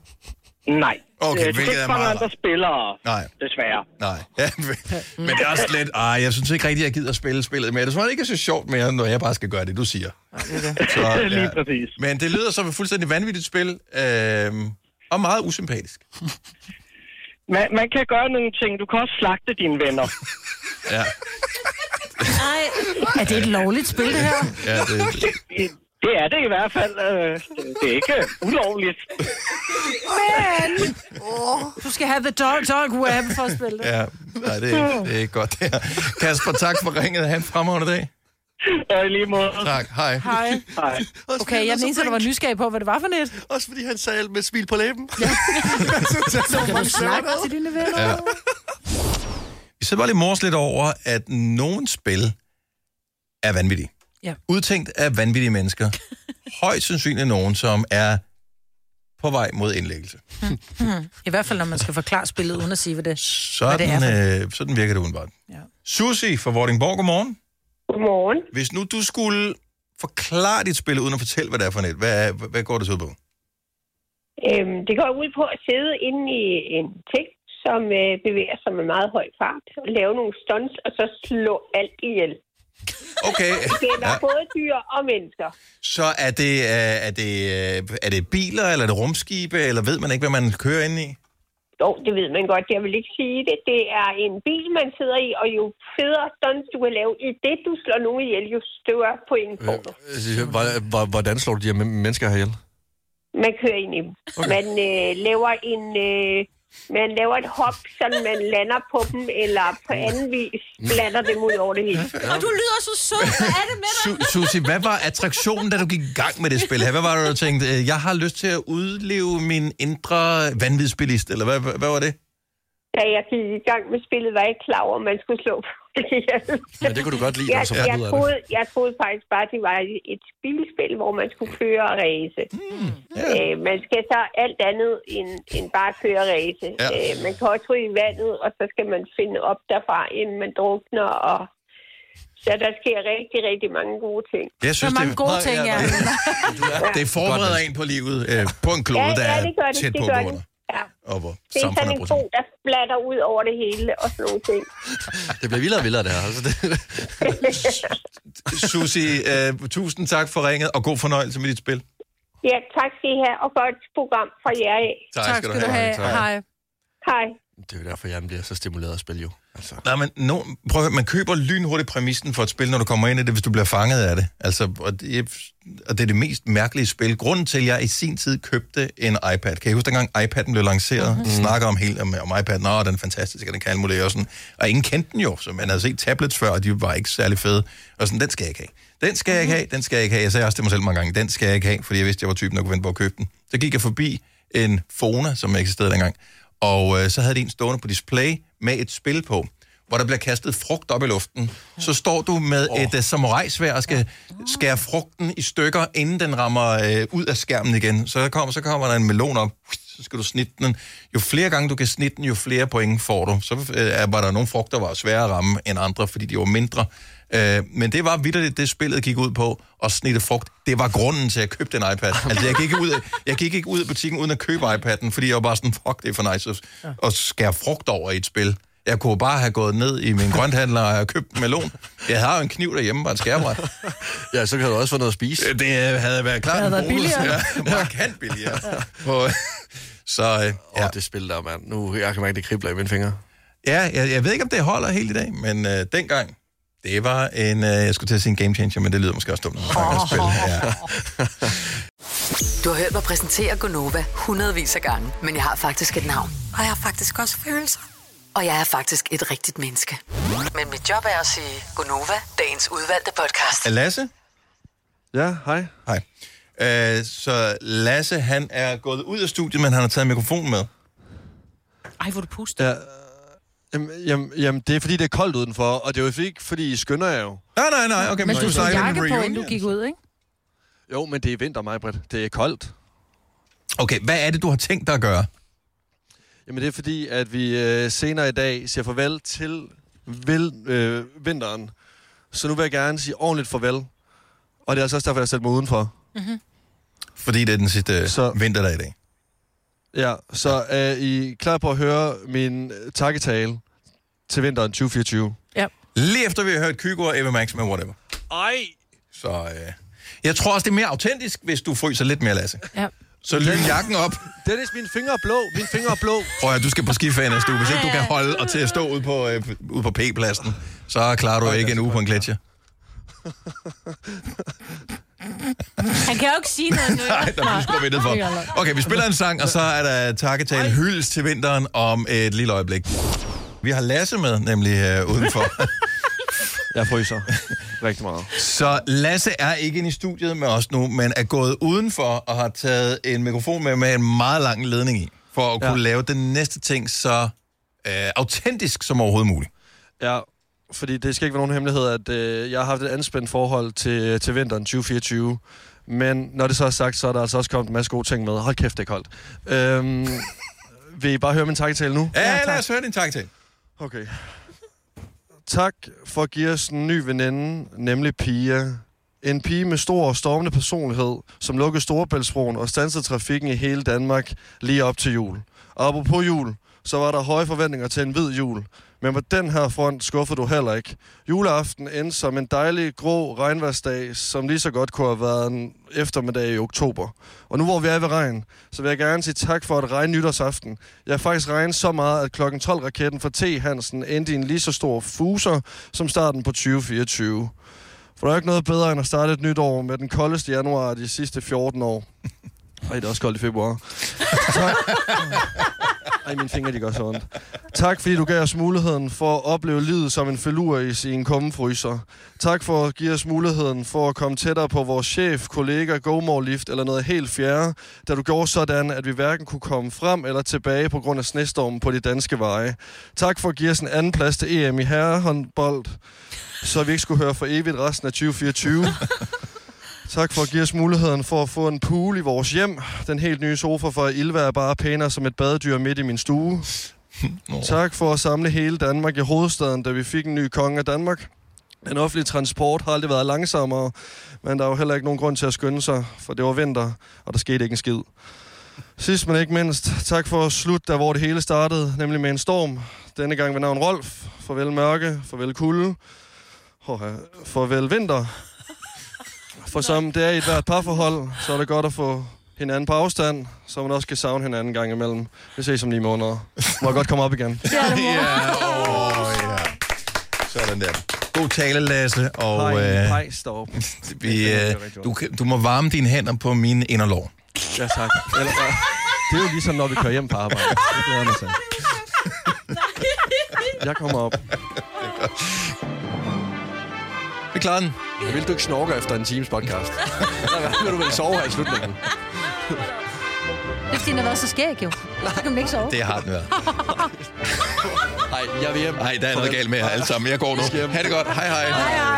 Q: Nej.
A: Okay,
Q: Øh, du kan
A: hvilket er
Q: ikke fange
A: meget...
Q: andre spillere,
A: Nej.
Q: desværre.
A: Nej, ja, men, men det er også lidt, ej, jeg synes ikke rigtigt, jeg gider at spille spillet mere. Det er ikke er så sjovt mere, når jeg bare skal gøre det, du siger.
Q: Så, Lige præcis.
A: Men det lyder som et fuldstændig vanvittigt spil, øh, og meget usympatisk.
Q: Man, man kan gøre nogle ting. Du kan også slagte dine venner.
A: Ja,
D: Nej.
B: Er det et lovligt spil, det her?
A: ja det,
Q: Det er det i hvert fald. Øh, Det er ikke ulovligt.
B: Men! Oh, du skal have the dog, dog web for at spille det.
A: ja, nej, det er, ikke- det er ikke godt det her. Kasper, tak for ringet. Han fremragende dag.
Q: Og i Øh, lige måde.
A: Tak, hej.
B: Hej.
Q: Hej.
B: Okay, jeg er den eneste, der var nysgerrig på, hvad det var for net.
C: Også fordi han sagde alt med et smil på læben. Ja.
B: Så kan du snakke til dine venner.
A: Ja. Vi sidder bare lige og mors lidt over, at nogle spil er vanvittige.
B: Ja.
A: Udtænkt af vanvittige mennesker. Højst sandsynligt nogen, som er på vej mod indlæggelse.
B: Hmm. I hvert fald, når man skal forklare spillet, uden at sige, hvad det, hvad det er.
A: Sådan,
B: For.
A: øh, sådan virker det udenbart. Ja. Susi fra Vordingborg, godmorgen.
O: Godmorgen.
A: Hvis nu du skulle forklare dit spil, uden at fortælle, hvad det er for net, hvad, er- hvad går det så ud på?
O: Øhm, det går ud på at sidde inde i en ting, som øh, bevæger sig med meget høj fart, og lave nogle stunts, og så slå alt ihjel.
A: Okay,
O: Det er ja.
A: ja.
O: både dyr og mennesker.
A: så er det, øh, er, det, øh, er det biler, eller er det rumskibe, eller ved man ikke, hvad man kører ind i?
O: Jo, det ved man godt. Jeg vil ikke sige det. Det er en bil, man sidder i, og jo federe stunts du kan lave i det, du slår nogen ihjel, jo større point
C: Øh,
O: får du.
C: Hvordan slår du de her men- mennesker her ihjel?
O: Man kører ind i dem. Okay. Man øh, laver en... Øh, man laver et hop, så man lander på dem, eller på anden vis blander dem ud over det hele.
D: Og du lyder så sød. Hvad er det med dig?
A: Su- Susi, hvad var attraktionen, da du gik i gang med det spil her? Hvad var det, du tænkte, øh, jeg har lyst til at udleve min indre vanvidsbilist, eller hvad, hvad, hvad var det?
O: Da jeg gik i gang med spillet, var jeg ikke klar over, at man skulle slå folk ihjel.
C: Ja, det kunne du godt lide, da
O: Jeg,
C: du så fandt
O: jeg,
C: ud af det.
O: troede, jeg troede faktisk bare, at det var et- et bilspil, hvor man skulle køre og race. Mm, yeah. øh, man skal så alt andet end, end bare køre og race.
A: Ja.
O: Øh, man kan også ryge i vandet, og så skal man finde op derfra, inden man drukner. Og Så der sker rigtig, rigtig mange gode ting.
A: Jeg synes, Der er mange det er- gode Nej, ting, ja, ja. Det forbereder en på livet øh, på en klode,
O: ja,
A: der
O: ja,
A: er
O: det gør det.
A: tæt
O: det
A: på
O: gør
A: bordet.
O: det. Ja.
A: Og hvor
O: Det er sådan
A: samfundet
O: en
A: bruger
O: bro, der splatter ud over det hele og sådan nogle ting.
C: Det bliver vildere og vildere, det her. Altså, det,
A: sig. Susi, øh, tusind tak for ringet, og god fornøjelse med dit spil.
O: ja, tak skal I have, og godt program fra jer af.
A: Tak Tak skal du skal du have. have. Tak. Hej.
O: Hej.
C: det er jo derfor, jeg bliver så stimuleret at spille jo. Altså.
A: Nej, men no, prøv at høre, man køber lynhurtigt præmissen for et spil, når du kommer ind i det, hvis du bliver fanget af det. Altså, og det, og det er det mest mærkelige spil. Grunden til, at jeg i sin tid købte en iPad. Kan I huske, dengang iPad'en blev lanceret? Mm-hmm. De snakkede om helt om, om iPad'en. Nå, den er fantastisk, og den kan alt muligt. Og, sådan. og ingen kendte den jo, så man havde set tablets før, og de var ikke særlig fede. Og sådan, den skal jeg ikke have. Den skal jeg ikke have, den skal jeg ikke have. Jeg sagde også til mig selv mange gange, den skal jeg ikke have, fordi jeg vidste, jeg var typen, der kunne vente på at købe den. Så gik jeg forbi en Fona, som eksisterede dengang, og øh, så havde de en stående på display med et spil på, hvor der bliver kastet frugt op i luften. Så står du med et uh, samurajsvær og skal skære frugten i stykker, inden den rammer øh, ud af skærmen igen. Så kommer, så kommer der en melon op, så skal du snitte den. Jo flere gange du kan snitte den, jo flere point får du. Så øh, var der nogle frugter, der var svære at ramme end andre, fordi de var mindre. Øh, men det var vidderligt, det spillet gik ud på, at snitte frugt. Det var grunden til, at jeg købte en iPad. Altså, jeg gik ikke ud af, jeg gik ikke ud af butikken uden at købe iPad'en, fordi jeg var bare sådan, fuck, det er for nice at, at skære frugt over i et spil. Jeg kunne bare have gået ned i min grønthandler og have købt en melon. Jeg har jo en kniv derhjemme, bare et skærbræt.
C: Ja, så kan du også få noget at spise.
A: Det øh, havde været
C: Det
A: klart
C: havde
A: en
C: været
A: bonus.
C: billigere.
A: Ja, markant billigere. På, så, øh, ja.
C: det spil der, mand. Nu jeg kan mærke, det kribler i mine fingre.
A: Ja, jeg, jeg ved ikke, om det holder helt i dag, men øh, dengang, det var en, øh, jeg skulle til at sige en game changer, men det lyder måske også dumt. når man snakker om spil. Ja.
E: Du har hørt mig præsentere Gonova hundredvis af gange, men jeg har faktisk et navn. Og jeg har faktisk også følelser. Og jeg er faktisk et rigtigt menneske. Men mit job er at sige Gonova, dagens udvalgte podcast.
A: Øh, Lasse?
C: Ja, hej.
A: Hej. Øh, så Lasse, han er gået ud af studiet, men han har taget mikrofonen med.
D: Ej, hvor du puster.
C: Ja, øh, jamen, jamen, jamen, det er fordi, det er koldt udenfor, og det er jo ikke, fordi I skynder jer jo.
A: Nej, nej, nej. Okay,
B: Men du tog jakke på, inden du gik ud, ikke?
C: Jo, men det er vinter, mig, Britt. Det er koldt.
A: Okay, hvad er det, du har tænkt dig at gøre?
C: Jamen, det er fordi, at vi øh, senere i dag siger farvel til vel, øh, vinteren. Så nu vil jeg gerne sige ordentligt farvel. Og det er altså også derfor, jeg har sat mig udenfor.
A: Mm-hmm. Fordi det er den sidste så... vinter, der er i dag.
C: Ja, så er I klar på at høre min øh, takketale til vinteren 2024?
B: Ja.
A: Lige efter vi har hørt Kygo og Eva Max med Whatever.
C: Ej!
A: Så øh, jeg tror også, det er mere autentisk, hvis du fryser lidt mere, Lasse.
B: Ja.
A: Så lyn jakken op.
C: Dennis, mine fingre er blå. Mine fingre er blå.
A: Prøv at høre, du skal på skiferien næste uge. Hvis ikke du kan holde og til at stå ude på, øh, ude på P-pladsen, så klarer du ikke en uge på en gletsjer.
D: Han kan jo ikke sige noget nu.
A: Nej, der bliver skruet vindet for. Okay, vi spiller en sang, og så er der takketale hyldes til vinteren om et lille øjeblik. Vi har Lasse med, nemlig øh, udenfor.
C: Jeg fryser rigtig meget.
A: Så Lasse er ikke inde i studiet med os nu, men er gået udenfor og har taget en mikrofon med med en meget lang ledning i, for at kunne ja. lave den næste ting så øh, autentisk som overhovedet muligt.
C: Ja, fordi det skal ikke være nogen hemmelighed, at øh, jeg har haft et anspændt forhold til, til vinteren 2024. Men når det så er sagt, så er der altså også kommet en masse gode ting med. Hold kæft, det er koldt. Øhm, vil I bare høre min takketale nu?
A: Ja, lad os høre din takketale.
C: Okay. Tak for at give os en ny veninde, nemlig Pia. En pige med stor og stormende personlighed, som lukkede Storebæltsbroen og stansede trafikken i hele Danmark lige op til jul. Og apropos jul, så var der høje forventninger til en hvid jul. Men på den her front skuffede du heller ikke. Juleaften endte som en dejlig, grå regnværsdag, som lige så godt kunne have været en eftermiddag i oktober. Og nu hvor vi er ved regn, så vil jeg gerne sige tak for at regne nytårsaften. Jeg har faktisk regnet så meget, at klokken 12-raketten fra T. Hansen endte i en lige så stor fuser som starten på 2024. For der er jo ikke noget bedre end at starte et nyt år med den koldeste januar de sidste 14 år. Ej, det er også koldt i februar. Tak. Ej, mine fingre, de gør så ondt. Tak, fordi du gav os muligheden for at opleve livet som en felur i sin kummefryser. Tak for at give os muligheden for at komme tættere på vores chef, kollega, GoMore-lift eller noget helt fjerde, da du gjorde sådan, at vi hverken kunne komme frem eller tilbage på grund af snestormen på de danske veje. Tak for at give os en anden plads til EM i herrehåndbold, så vi ikke skulle høre for evigt resten af 2024. Tak for at give os muligheden for at få en pool i vores hjem. Den helt nye sofa fra Ilva er bare pænere som et badedyr midt i min stue. Tak for at samle hele Danmark i hovedstaden, da vi fik en ny konge af Danmark. Den offentlige transport har aldrig været langsommere, men der er jo heller ikke nogen grund til at skynde sig, for det var vinter, og der skete ikke en skid. Sidst men ikke mindst, tak for at slutte der, hvor det hele startede, nemlig med en storm. Denne gang ved navn Rolf. Farvel mørke, farvel kulde, Håh, ja, farvel vinter. For som det er i et hvert parforhold, så er det godt at få hinanden på afstand, så man også kan savne hinanden en gang imellem. Vi ses om ni måneder. Må jeg godt komme op igen.
A: Ja, åh, ja. Sådan der. God tale, Lasse. Og,
C: Hej,
A: øh,
C: hej, stop.
A: vi, øh, du, kan- du må varme dine hænder på mine inderlår.
C: Ja, tak. Eller, ja. Det er jo ligesom, når vi kører hjem på arbejde. Det glæder jeg mig til. Jeg kommer op.
A: Vi klarer den.
C: Jeg vil du ikke snorke efter en times podcast. Der vil du vel sove her i slutningen.
R: Det er fordi, den har været så skæg, jo. Så kan man ikke sove.
A: Det har den været.
C: Nej, jeg vil hjem.
A: Nej, der er noget galt med jer alle sammen. Jeg går nu. Ha' det godt. Hej hej.
R: Hej, hej.